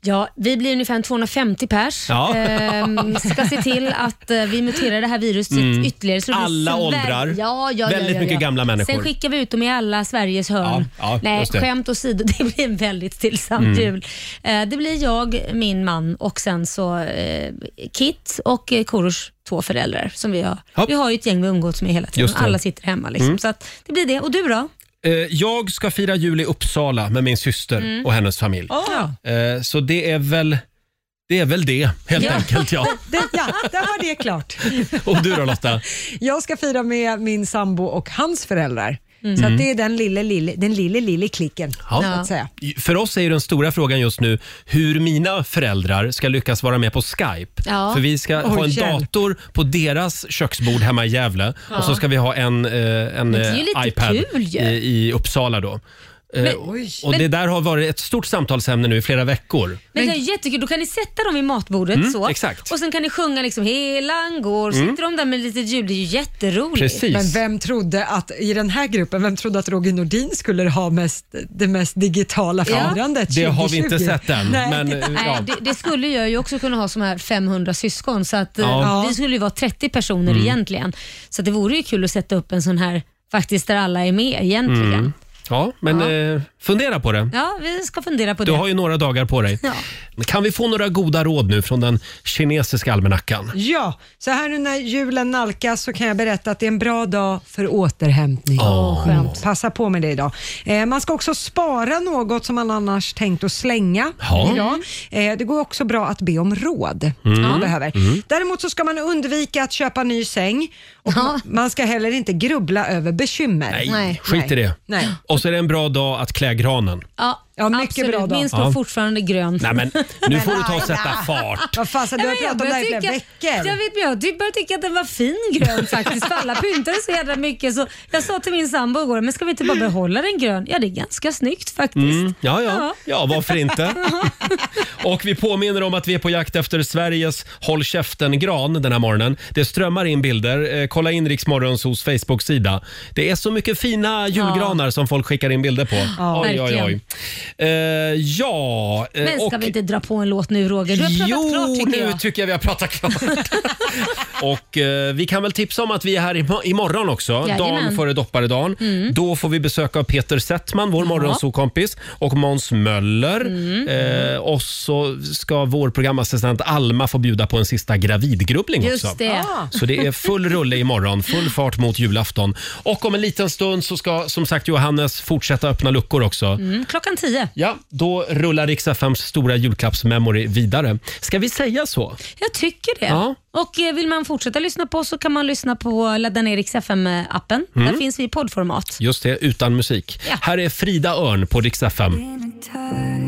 Speaker 4: Ja, vi blir ungefär 250 pers.
Speaker 1: Ja.
Speaker 4: Ehm, ska se till att eh, vi muterar det här viruset
Speaker 1: Mm.
Speaker 4: ytterligare. det blir
Speaker 1: Alla
Speaker 4: Sver-
Speaker 1: åldrar.
Speaker 4: Ja, ja, ja,
Speaker 1: Väldigt
Speaker 4: ja, ja.
Speaker 1: mycket gamla människor.
Speaker 4: Sen skickar vi ut dem i alla Sveriges hörn.
Speaker 1: Ja, ja,
Speaker 4: Nej,
Speaker 1: just det.
Speaker 4: skämt åsido, det blir en väldigt stillsam
Speaker 1: Mm.
Speaker 4: jul. Eh, det blir jag, min man och sen så eh, Kit och eh, Korosh två föräldrar som vi har. Vi har ju ett gäng vi umgås med hela tiden.
Speaker 1: Just det.
Speaker 4: Alla sitter hemma liksom.
Speaker 1: Mm.
Speaker 4: Så att det blir det. Och du då?
Speaker 1: Eh, Jag ska fira jul i Uppsala med min syster
Speaker 4: Mm.
Speaker 1: och hennes familj.
Speaker 4: Ja.
Speaker 1: Eh, Så det är väl det, är väl det helt enkelt. Ja.
Speaker 2: Det, ja, där var det klart.
Speaker 1: Och du då Lotta?
Speaker 2: Jag ska fira med min sambo och hans föräldrar.
Speaker 1: Mm.
Speaker 2: Så att
Speaker 1: Mm.
Speaker 2: det är den lille, lille, den lille, lille klicken. Så att säga.
Speaker 1: För oss är ju den stora frågan just nu hur mina föräldrar ska lyckas vara med på Skype.
Speaker 2: Ja.
Speaker 1: För vi ska
Speaker 2: Oj,
Speaker 1: ha en
Speaker 2: hjälp.
Speaker 1: dator på deras köksbord hemma i Gävle
Speaker 4: Ja.
Speaker 1: och så ska vi ha en, eh, en
Speaker 4: det är ju
Speaker 1: eh,
Speaker 4: lite
Speaker 1: iPad
Speaker 4: kul ju.
Speaker 1: i, i Uppsala då. Eh,
Speaker 4: Men-
Speaker 1: och
Speaker 4: men-
Speaker 1: det där har varit ett stort samtalsämne nu i flera veckor.
Speaker 4: Men det är jättekul, då kan ni sätta dem vid matbordet
Speaker 1: Mm,
Speaker 4: så.
Speaker 1: exakt.
Speaker 4: och sen kan ni sjunga liksom Helan går,
Speaker 1: Mm.
Speaker 4: sitter de där med lite ljud, det är ju jätteroligt.
Speaker 2: Men vem trodde att, i den här gruppen, vem trodde att Roger Nordin skulle ha mest, det mest digitala firandet
Speaker 1: det har vi
Speaker 2: 2020?
Speaker 1: inte sett än,
Speaker 2: Nej.
Speaker 1: men, eh,
Speaker 4: Nej,
Speaker 1: ja.
Speaker 4: det, det skulle jag ju också kunna ha som här 500 syskon så att eh,
Speaker 1: Ja.
Speaker 4: vi skulle ju vara 30 personer
Speaker 1: Mm.
Speaker 4: egentligen. Så att det vore ju kul att sätta upp en sån här faktiskt där alla är med egentligen.
Speaker 1: Mm. Ja, men Eh, fundera på det.
Speaker 4: Ja, vi ska fundera på
Speaker 1: Du
Speaker 4: det.
Speaker 1: har ju några dagar på dig.
Speaker 4: Ja.
Speaker 1: Kan vi få några goda råd nu från den kinesiska almanackan?
Speaker 2: Ja, så här nu när julen nalkas så kan jag berätta att det är en bra dag för återhämtning.
Speaker 1: Åh,
Speaker 2: skönt. Passa på med det idag. Eh, man ska också spara något som man annars tänkt att slänga
Speaker 5: Ja.
Speaker 2: idag. Eh, det går också bra att be om råd
Speaker 5: Mm.
Speaker 2: om man behöver.
Speaker 5: Mm.
Speaker 2: Däremot så ska man undvika att köpa ny säng och ma- man ska heller inte grubbla över bekymmer.
Speaker 1: Nej, skit i det.
Speaker 2: Nej.
Speaker 1: Och så är det en bra dag att klä granen.
Speaker 4: Ja,
Speaker 2: ja mycket
Speaker 4: absolut.
Speaker 2: bra dag.
Speaker 4: Min står
Speaker 1: Ja.
Speaker 4: fortfarande grön.
Speaker 1: Nej, men nu får du ta och sätta fart.
Speaker 2: Vad fasen, du har
Speaker 4: Nej, men jag
Speaker 2: pratat om det här i
Speaker 4: börjar
Speaker 2: flera
Speaker 4: tycka-
Speaker 2: veckor.
Speaker 4: Jag vet, men jag typ börjar tycka att den var fin grön faktiskt, för alla pyntade så jävla mycket. Så jag sa till min sambo igår, men ska vi inte bara behålla den grön? Ja, det är ganska snyggt faktiskt.
Speaker 1: Mm, ja, ja.
Speaker 4: Ja.
Speaker 1: ja, varför inte? Och vi påminner om att vi är på jakt efter Sveriges Håll käften-gran den här morgonen. Det strömmar in bilder. Eh, kolla in Rix Morgonzoos Facebook-sida. Det är så mycket fina julgranar som folk skickar in bilder på.
Speaker 4: Ja,
Speaker 1: oj, oj, oj.
Speaker 4: verkligen.
Speaker 1: Eh, ja, eh,
Speaker 4: Men ska
Speaker 1: och...
Speaker 4: vi inte dra på en låt nu Roger? Du har pratat
Speaker 1: jo,
Speaker 4: klart tycker
Speaker 1: nu
Speaker 4: jag.
Speaker 1: tycker jag vi har pratat klart. och eh, vi kan väl tipsa om att vi är här im- imorgon också,
Speaker 4: Jajamän.
Speaker 1: dagen före dopparedagen.
Speaker 4: Mm.
Speaker 1: Då får vi besöka Peter Settman, vår morgonsokompis, och Måns Möller.
Speaker 4: Mm.
Speaker 1: Eh, och så ska vår programassistent Alma få bjuda på en sista gravidgrubbling
Speaker 5: Just
Speaker 1: också.
Speaker 5: det. Ah.
Speaker 1: Så det är full rulle imorgon, full fart mot julafton. Och om en liten stund så ska som sagt Johannes fortsätta öppna luckor också.
Speaker 4: Mm, klockan tio.
Speaker 1: Ja, då rullar Rix FMs stora julklappsmemory vidare. Ska vi säga så?
Speaker 4: Jag tycker det.
Speaker 1: Ja.
Speaker 4: Och eh, vill man fortsätta lyssna på oss så kan man lyssna på ladda ner Rix FM-appen.
Speaker 1: Mm.
Speaker 4: Där finns vi i poddformat.
Speaker 1: Just det, utan musik. Här är Frida Örn på Rix FM.
Speaker 20: Time.